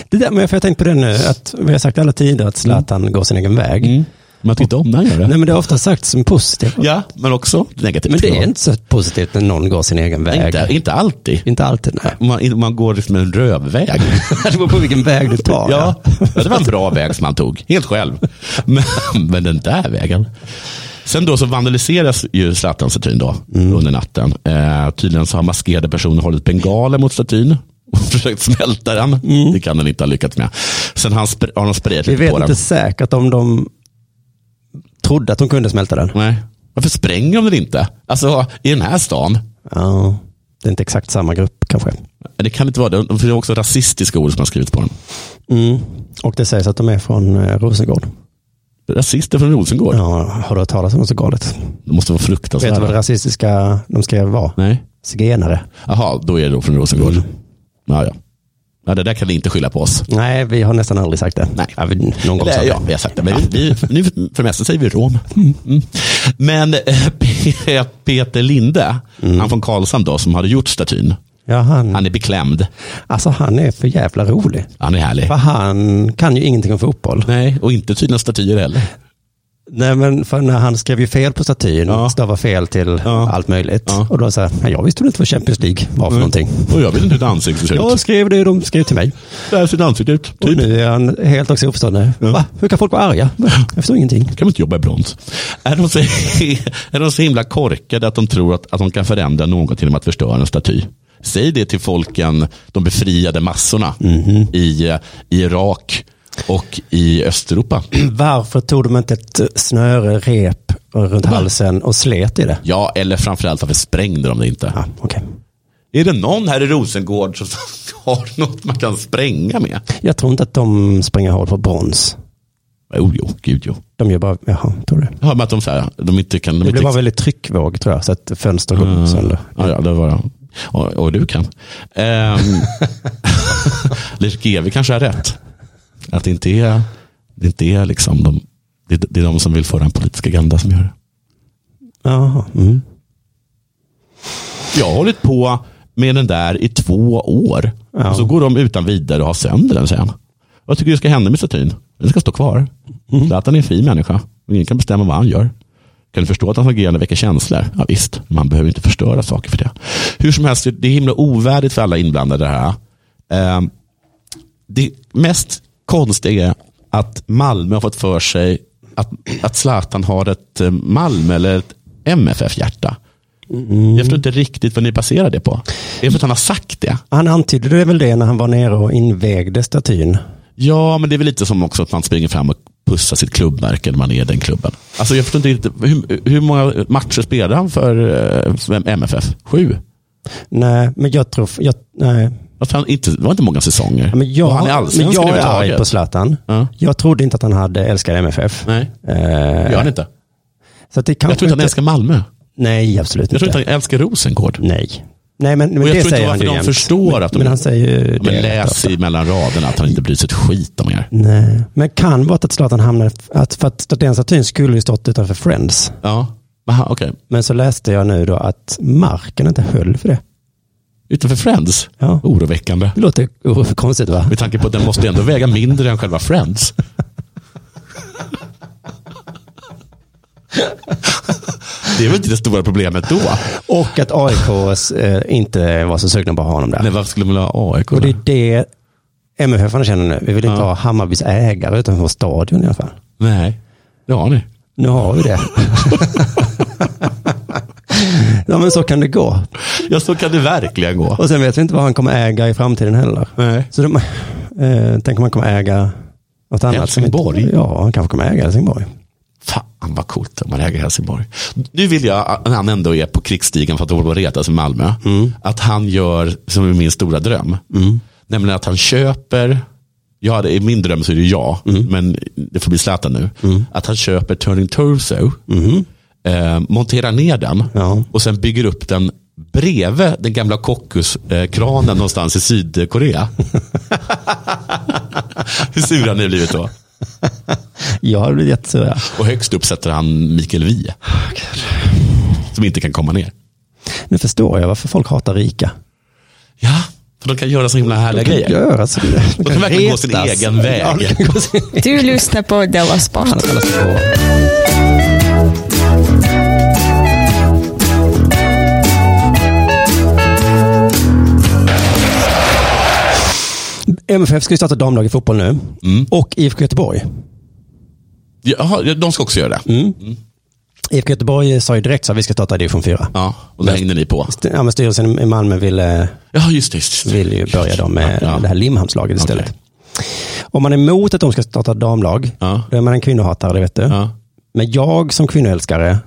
S2: Det där, men jag har tänkt på det nu, att vi har sagt alla tider att Zlatan går sin egen väg.
S3: Man tyckte om när han gör det.
S2: Nej, men det har ofta sagts som positivt.
S3: Ja, men också negativt.
S2: Men det är inte så positivt när någon går sin egen väg.
S3: inte, inte alltid.
S2: Inte alltid, nej.
S3: Man, man går liksom en rövväg.
S2: Det beror på vilken väg du tar.
S3: Ja, det var en bra väg som han tog, helt själv. Men, men den där vägen. Sen då så vandaliseras ju Zlatans statyn då, under natten. Eh, tydligen så har maskerade personer hållit bengaler mot statyn och försökt smälta den. Det kan den inte ha lyckats med. Sen har, han spr- har de sprejat
S2: Vi
S3: lite
S2: vet
S3: på
S2: inte
S3: den.
S2: säkert om de trodde att de kunde smälta den.
S3: Nej. Varför spränger de den inte? Alltså, i den här stan.
S2: Ja, det är inte exakt samma grupp kanske.
S3: Det kan inte vara det, för det är också rasistiska ord som har skrivits på den.
S2: Mm. Och det sägs att de är från eh, Rosengård.
S3: Rasister från Rosengård.
S2: Ja, har du hört talas om något så galet?
S3: De måste vara
S2: Vet du vad det
S3: fruktansvärda.
S2: rasistiska de skrev var?
S3: Nej.
S2: Zigenare.
S3: Jaha, då är det då från Rosengård. Ja, ja. ja, det där kan ni inte skylla på oss.
S2: Nej, vi har nästan aldrig sagt det.
S3: Nej.
S2: Ja, vi, någon gång sa
S3: Eller,
S2: vi.
S3: ja, vi har sagt det. Men vi, vi, nu för det mesta säger vi rom. Mm. Men eh, Peter Linde, han från Karlshamn då, som hade gjort statyn.
S2: Ja, han,
S3: Han är beklämd.
S2: Alltså han är för jävla rolig.
S3: Han är härlig.
S2: För han kan ju ingenting om fotboll.
S3: Nej, och inte tydligen statyer heller.
S2: Nej, men för när han skrev ju fel på statyn,
S3: Ja.
S2: stavar fel till
S3: Ja.
S2: allt möjligt.
S3: Ja.
S2: Och då sa jag, "Nej, jag visste väl inte vad Champions League var för någonting.
S3: Och jag vet inte hur ett ansikte ser
S2: Mm. Jag Typ.
S3: ut.
S2: skrev det, de skrev till mig.
S3: Där ser ett ansikte ut.
S2: Och
S3: Typ.
S2: nu är han helt också uppstående.
S3: Ja.
S2: Va? Hur kan folk vara arga? Jag förstår ingenting.
S3: kan man inte jobba i brons. Är de så, är de så himla korkade att de tror att, att de kan förändra något genom att förstöra en staty? Säg det till folken, de befriade massorna i, eh, i Irak och i Östeuropa.
S2: Varför tog de inte ett snöre, rep runt halsen och slet i det?
S3: Ja, eller framförallt varför sprängde de det inte?
S2: Ja, okej.
S3: Är det någon här i Rosengård som har något man kan spränga med?
S2: Jag tror inte att de spränger hål på brons.
S3: Jo, jo, gud jo.
S2: De gör bara, jaha, tror du?
S3: Jag hör med att de, så här, de inte kan... De
S2: Det
S3: inte
S2: blir Mm. bara väldigt tryckvåg tror jag, så att fönster går sönder.
S3: Mm. Ja, ja det var jag. Och, Ehm, och du kan. Um, Leif GW kanske har rätt. Att det inte är, det inte är liksom de, det, är- det är de som vill föra en politisk agenda som gör det.
S2: Jaha. Mm.
S3: Jag har hållit på med den där i två år.
S2: Ja.
S3: Och så går de utan vidare och har sönder den sen. Vad tycker du ska hända med statyn? Den ska stå kvar. Zlatan är en fri människa. Ingen kan bestämma vad han gör. Kan du förstå att hans agerande väcker känslor? Ja, visst, man behöver inte förstöra saker för det. Hur som helst, det är himla ovärdigt för alla inblandade det här. Ehm, Det mest konstiga är att Malmö har fått för sig att, att Zlatan har ett eh, Malmö eller ett MFF-hjärta. Jag förstår inte riktigt vad ni baserar det på. Det är för att han har sagt det.
S2: Han antydde det väl det när han var nere och invigde statyn.
S3: Ja, men det är väl lite som också att man springer fram och pussar sitt klubbmärke när man är i den klubben. Alltså jag förstår inte riktigt, hur, hur många matcher spelade han för eh, för MFF? Sju?
S2: Nej, men jag tror... Jag, nej.
S3: Alltså han inte, det var inte många säsonger.
S2: Ja, Men jag,
S3: Och han är
S2: men
S3: allsvenskan
S2: jag är arg
S3: överhuvudtaget.
S2: på Zlatan.
S3: Ja.
S2: Jag trodde inte att han hade älskat MFF.
S3: Nej, det
S2: Eh,
S3: gör han inte.
S2: så att det kanske
S3: Jag tror inte han älskar Malmö.
S2: Nej, absolut
S3: Jag
S2: inte.
S3: tror inte han älskar Rosengård.
S2: Nej. Nej, men, men
S3: Och jag
S2: det
S3: tror inte
S2: säger han
S3: varför
S2: ju
S3: de
S2: jämt.
S3: förstår att de-
S2: Men han säger ju
S3: Ja, men
S2: det rätt
S3: läs
S2: ofta.
S3: i mellan raderna att han inte bryr sig ett skit om er.
S2: Nej, men kan vara att Zlatan hamnade... Att, för att den statyn skulle ju stått utanför Friends.
S3: Ja, Aha, okej.
S2: Men så läste jag nu då att marken inte höll för det.
S3: Utanför Friends?
S2: Ja.
S3: Oroväckande.
S2: Det låter oh, konstigt va?
S3: Med tanke på att den måste ändå väga mindre än själva Friends. Det är väl inte det stora problemet då?
S2: Och att AIK eh, inte var så sugna på att ha honom där.
S3: Nej, varför skulle man vilja ha AIK?
S2: Och det
S3: där?
S2: är det MFF känner nu. Vi vill inte
S3: Ja.
S2: ha Hammarbys ägare utanför stadion i alla fall.
S3: Nej, det har ni.
S2: Nu har vi det. ja men så kan det gå.
S3: Ja, så kan det verkligen gå.
S2: Och sen vet vi inte vad han kommer äga i framtiden heller.
S3: Nej.
S2: Så de, eh, tänk om han kommer äga något annat. som inte-
S3: Helsingborg?
S2: Ja, han kanske kommer äga Helsingborg.
S3: Fan vad coolt om man äger Helsingborg. Nu vill jag, när han ändå är på krigsstigen för att hålla på och retas i Malmö, att han gör som är min stora dröm. Nämligen att han köper, ja, det är min dröm så är det jag, men det får bli Zlatan nu. Att han köper Turning Torso, eh, monterar ner den
S2: Ja.
S3: och sen bygger upp den bredvid den gamla Kockus-kranen någonstans i Sydkorea. Hur sur han nu blivit då?
S2: Jag hade blivit jättesur.
S3: Och högst upp sätter han Mikael Wiehe. Som inte kan komma ner.
S2: Nu förstår jag varför folk hatar rika.
S3: Ja, för de kan göra så himla härliga
S2: De kan
S3: grejer.
S2: Göra så. De
S3: kan verkligen gå sin
S2: retas.
S3: egen väg.
S2: Ja, de kan gå sin
S1: Du lyssnar på Della Sport.
S2: Han kallas på. MFF ska ju starta damlag i fotboll nu.
S3: Mm.
S2: Och IFK Göteborg.
S3: Jaha, ja, de ska också göra det.
S2: IFK Göteborg sa ju direkt så att vi ska starta i division 4.
S3: Ja, och det hängde ni på.
S2: Ja, men styrelsen i Malmö ville,
S3: Ja, just det. Just det.
S2: ville ju börja då med
S3: Ja.
S2: det här Limhamnslaget istället.
S3: Okej.
S2: Om man är emot att de ska starta damlag,
S3: Ja.
S2: då är man en kvinnohatare, det vet du.
S3: Ja.
S2: Men jag som kvinnoälskare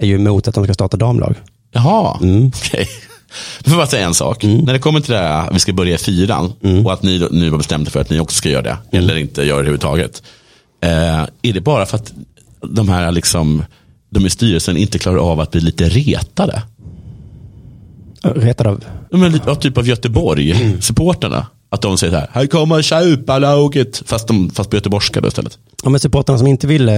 S2: är ju emot att de ska starta damlag.
S3: Jaha, okej. Men bara säga en sak. När det kommer till det här, vi ska börja i fyran och att ni då- nu har bestämt er för att ni också ska göra det. Eller inte gör det överhuvudtaget. Eh, är det bara för att de här liksom, de i styrelsen inte klarar av att bli lite retade?
S2: Retad av
S3: Ja, Men lite, ja, typ av Göteborg-supporterna. Att de säger så här, här kommer tjupalaget. Fast, de- fast på göteborgska då istället.
S2: Ja, men supportrarna som inte ville,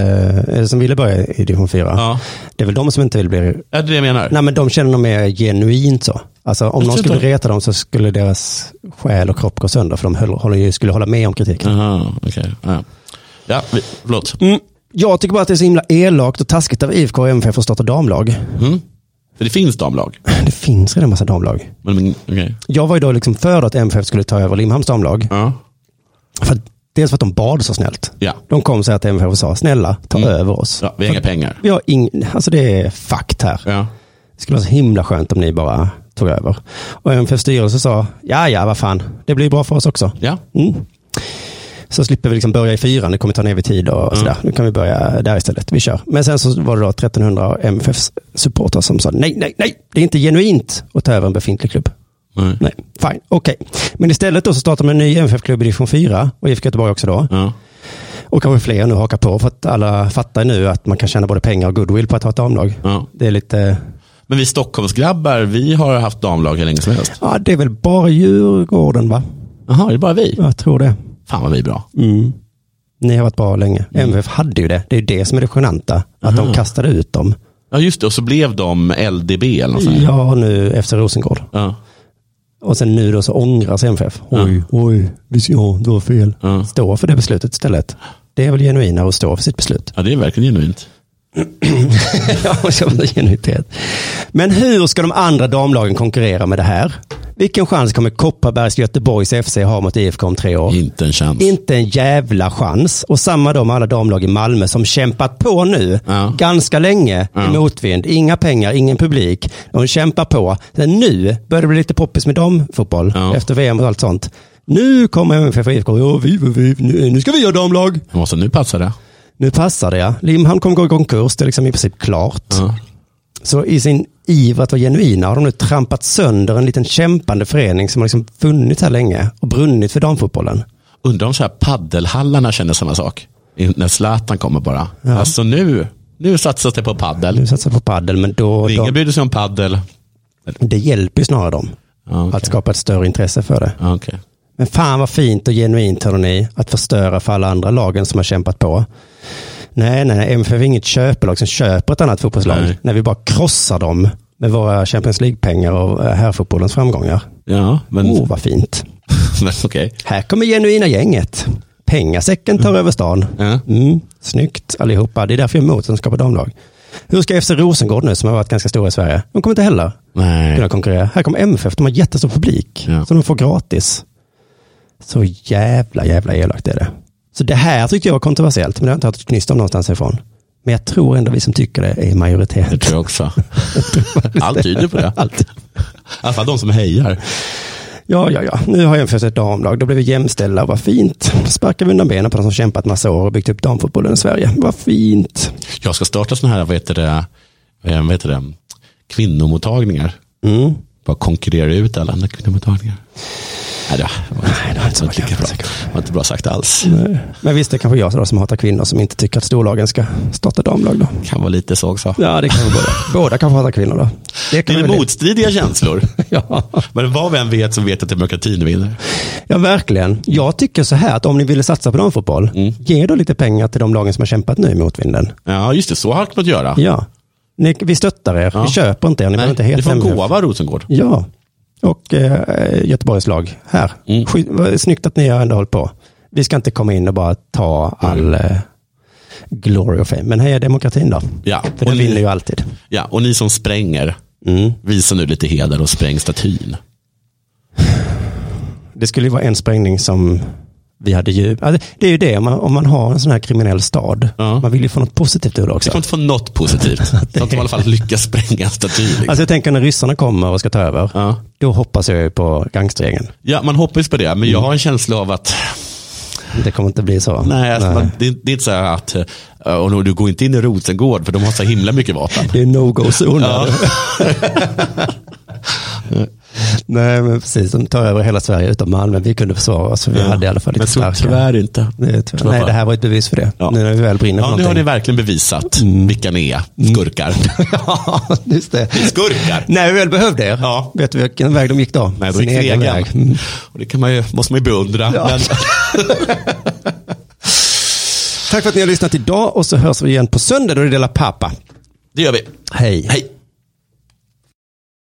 S2: eh, som ville börja i division 4,
S3: Ja.
S2: det är väl de som inte vill bli...
S3: Är det det jag menar?
S2: Nej, men de känner nog mer genuint så. Alltså om
S3: Jag
S2: någon
S3: tror
S2: skulle
S3: inte-
S2: reta dem så skulle deras själ och kropp gå sönder, för de höll, håller ju- skulle hålla med om kritiken.
S3: Aha, okej. Ja, ja vi, förlåt.
S2: Mm. Jag tycker bara att det är så himla elakt och taskigt av IFK och MFF att starta damlag.
S3: Mm. För det finns damlag.
S2: Det finns redan massa damlag.
S3: Men, men, okej.
S2: Jag var ju då liksom för att MFF skulle ta över Limhamns damlag.
S3: ja.
S2: För att, dels för att de bad så snällt.
S3: Ja.
S2: De kom så här till MFF och sa, snälla, ta
S3: Mm.
S2: över oss.
S3: ja, vi har inga pengar.
S2: Vi har ing- alltså det är fakt här.
S3: Ja.
S2: Det skulle vara så himla skönt om ni bara tog över. Och MFFs styrelse sa, ja ja, vad fan, det blir bra för oss också.
S3: Ja.
S2: Mm. Så slipper vi liksom börja i fyran, det kommer ta ner vid tid och sådär. Nu kan vi börja där istället, vi kör. Men sen så var det då 1300 MFFs supportrar som sa, nej, nej, nej, det är inte genuint att ta över en befintlig klubb.
S3: Nej.
S2: Nej, fine, okej. Men istället då så startar man en ny MFF-klubb i division 4 och IFK Göteborg också då.
S3: Ja.
S2: Och kanske fler nu hakar på för att alla fattar nu att man kan tjäna både pengar och goodwill på att ha ett damlag.
S3: Ja.
S2: Det är lite
S3: Men vi Stockholmsgrabbar, vi har haft damlag hur länge som helst.
S2: Ja, det är väl bara Djurgården va?
S3: Jaha, är det bara vi?
S2: Jag tror det.
S3: Fan vad vi är bra.
S2: Mm. Ni har varit bra länge. MFF hade ju det. Det är ju det som är det genanta. Att de kastade ut dem.
S3: Ja just det, och så blev de LDB eller något sånt. där.
S2: Ja, nu FC Rosengård.
S3: Ja.
S2: Och sen nu då så ångras MFF. Oj, oj, visst, ja, det var fel.
S3: Ja.
S2: Stå för det beslutet istället. Det är väl genuinare att stå för sitt beslut.
S3: ja, det är verkligen genuint.
S2: ja, och så var det genuinitet. Men hur ska de andra damlagen konkurrera med det här? Vilken chans kommer Kopparbergs Göteborgs FC ha mot IFK om tre år?
S3: Inte en chans.
S2: Inte en jävla chans. Och samma då med alla damlag i Malmö som kämpat på nu
S3: Ja.
S2: ganska länge
S3: Ja.
S2: i motvind. Inga pengar, ingen publik. De kämpar på. Sen nu börjar det bli lite poppis med damfotboll
S3: Ja.
S2: efter VM och allt sånt. Nu kommer MFF och IFK. Ja, vi, vi, vi, nu, nu ska vi göra damlag.
S3: Jag måste, nu passar det.
S2: Nu passar det ja. Limhamn kommer gå i konkurs. Det är liksom i princip klart.
S3: Ja.
S2: Så i sin iver att vara genuina har de nu trampat sönder en liten kämpande förening som har liksom funnits här länge och brunnit för damfotbollen.
S3: Undrar om så här paddelhallarna känner samma sak. I- När Zlatan kommer bara. Alltså nu, nu satsas det på paddel.
S2: Nu satsar på paddel men då... då-
S3: Ingen brydde sig om paddel.
S2: Det hjälper ju snarare dem
S3: Ja, okej.
S2: att skapa ett större intresse för det.
S3: Ja, okej.
S2: Men fan vad fint och genuint hörde ni, att förstöra för alla andra lagen som har kämpat på. Nej, nej, nej, MFF är inget köpelag som köper ett annat fotbollslag.
S3: Nej.
S2: När vi bara krossar dem med våra Champions League-pengar och eh, herrfotbollens framgångar.
S3: Ja, men
S2: Åh, vad fint.
S3: men okej.
S2: Här kommer genuina gänget. Pengasäcken tar över stan.
S3: Ja.
S2: Mm, snyggt allihopa. Det är därför jag är emot att de skapar damlag. Hur ska FC Rosengård nu, som har varit ganska stora i Sverige, de kommer inte heller kunna
S3: Nej.
S2: konkurrera. Här kommer MFF, de har jättestor publik
S3: Ja.
S2: som de får gratis. Så jävla, jävla elakt är det. Så det här tyckte jag var kontroversiellt, men det har jag inte hört ett knyst om någonstans ifrån. Men jag tror ändå vi som tycker det är i
S3: Det
S2: majoritet.
S3: tror jag också. Allt tyder på det.
S2: Allt.
S3: I alla fall de som hejar.
S2: Ja, ja, ja. Nu har jag infört ett damlag. Då blir vi jämställda. Vad fint. Då sparkar vi undan benen på de som kämpat massa år och byggt upp damfotbollen i Sverige. Vad fint.
S3: Jag ska starta sådana här, vad heter det, eh, vad heter det, kvinnomottagningar.
S2: Mm.
S3: Bara konkurrera ut alla andra kvinnomottagningar. Nej, det var inte, det var inte, lika bra. Det var inte bra sagt alls.
S2: Men visst, det är kanske jag då som hatar kvinnor som inte tycker att storlagen ska starta damlag då.
S3: Kan vara lite så också.
S2: Ja, det kan vi båda. Båda kanske hatar kvinnor då.
S3: Det
S2: kan vi
S3: är
S2: väl-
S3: motstridiga känslor.
S2: Ja.
S3: Men vad vi än vet så vet att demokratin vinner.
S2: ja, verkligen. Jag tycker så här att om ni ville satsa på damfotboll,
S3: Mm.
S2: ge då lite pengar till de lagen som har kämpat nu i motvinden.
S3: Ja, just det. Så har man att göra.
S2: Ja. Ni, vi stöttar er.
S3: Ja.
S2: Vi köper inte er. Ni behöver
S3: Nej,
S2: inte
S3: det
S2: helt
S3: får en gåva, Rosengård.
S2: Ja, och eh, Göteborgs lag här.
S3: Mm.
S2: Sky- vad snyggt att ni har ändå hållit på. Vi ska inte komma in och bara ta
S3: Mm.
S2: all eh, glory och fame. Men heja demokratin då.
S3: Ja,
S2: För den
S3: och ni-
S2: vinner ju alltid.
S3: Ja, och ni som spränger,
S2: Mm.
S3: visa nu lite heder och spräng statyn.
S2: Det skulle ju vara en sprängning som vi hade ju. Ja, det- Det är ju det, om man, om man har en sån här kriminell stad.
S3: Ja.
S2: Man vill ju få något positivt ur det
S3: Jag
S2: också.
S3: kommer inte få något positivt. Så att de i alla fall lyckas spränga en staty. Liksom.
S2: Alltså jag tänker när ryssarna kommer och ska ta över.
S3: Ja.
S2: Då hoppas jag ju på gangstergängen.
S3: ja, man hoppas på det, men jag har en känsla av att
S2: Det kommer inte bli så.
S3: Nej, alltså,
S2: Nej.
S3: Man, det, det är inte så här att eh, och nu- du går inte in i Rosengård för de har så himla mycket vapen.
S2: Det är no-go-zoner. Nej, men precis. De tar över hela Sverige utom Malmö. Vi kunde försvara oss, för vi hade i alla fall lite
S3: Men så
S2: starka...
S3: Tyvärr inte.
S2: Det är tyvärr.
S3: Tyvärr
S2: Nej,
S3: bara.
S2: det här var ett bevis för det.
S3: Ja.
S2: Nu när vi väl brinner
S3: Ja, nu har
S2: för
S3: ni
S2: någonting. Mm.
S3: verkligen bevisat vilka ni är, skurkar.
S2: ja, just det.
S3: skurkar!
S2: När vi väl behövde er,
S3: Ja.
S2: vet du vilken väg de gick då?
S3: Nej, då gick ni egen väg.
S2: Mm.
S3: Och det kan man ju, måste man ju beundra.
S2: Ja.
S3: Men,
S2: Tack för att ni har lyssnat idag och så hörs vi igen på söndag då det är Dela Pappa.
S3: det gör vi.
S2: Hej.
S3: Hej!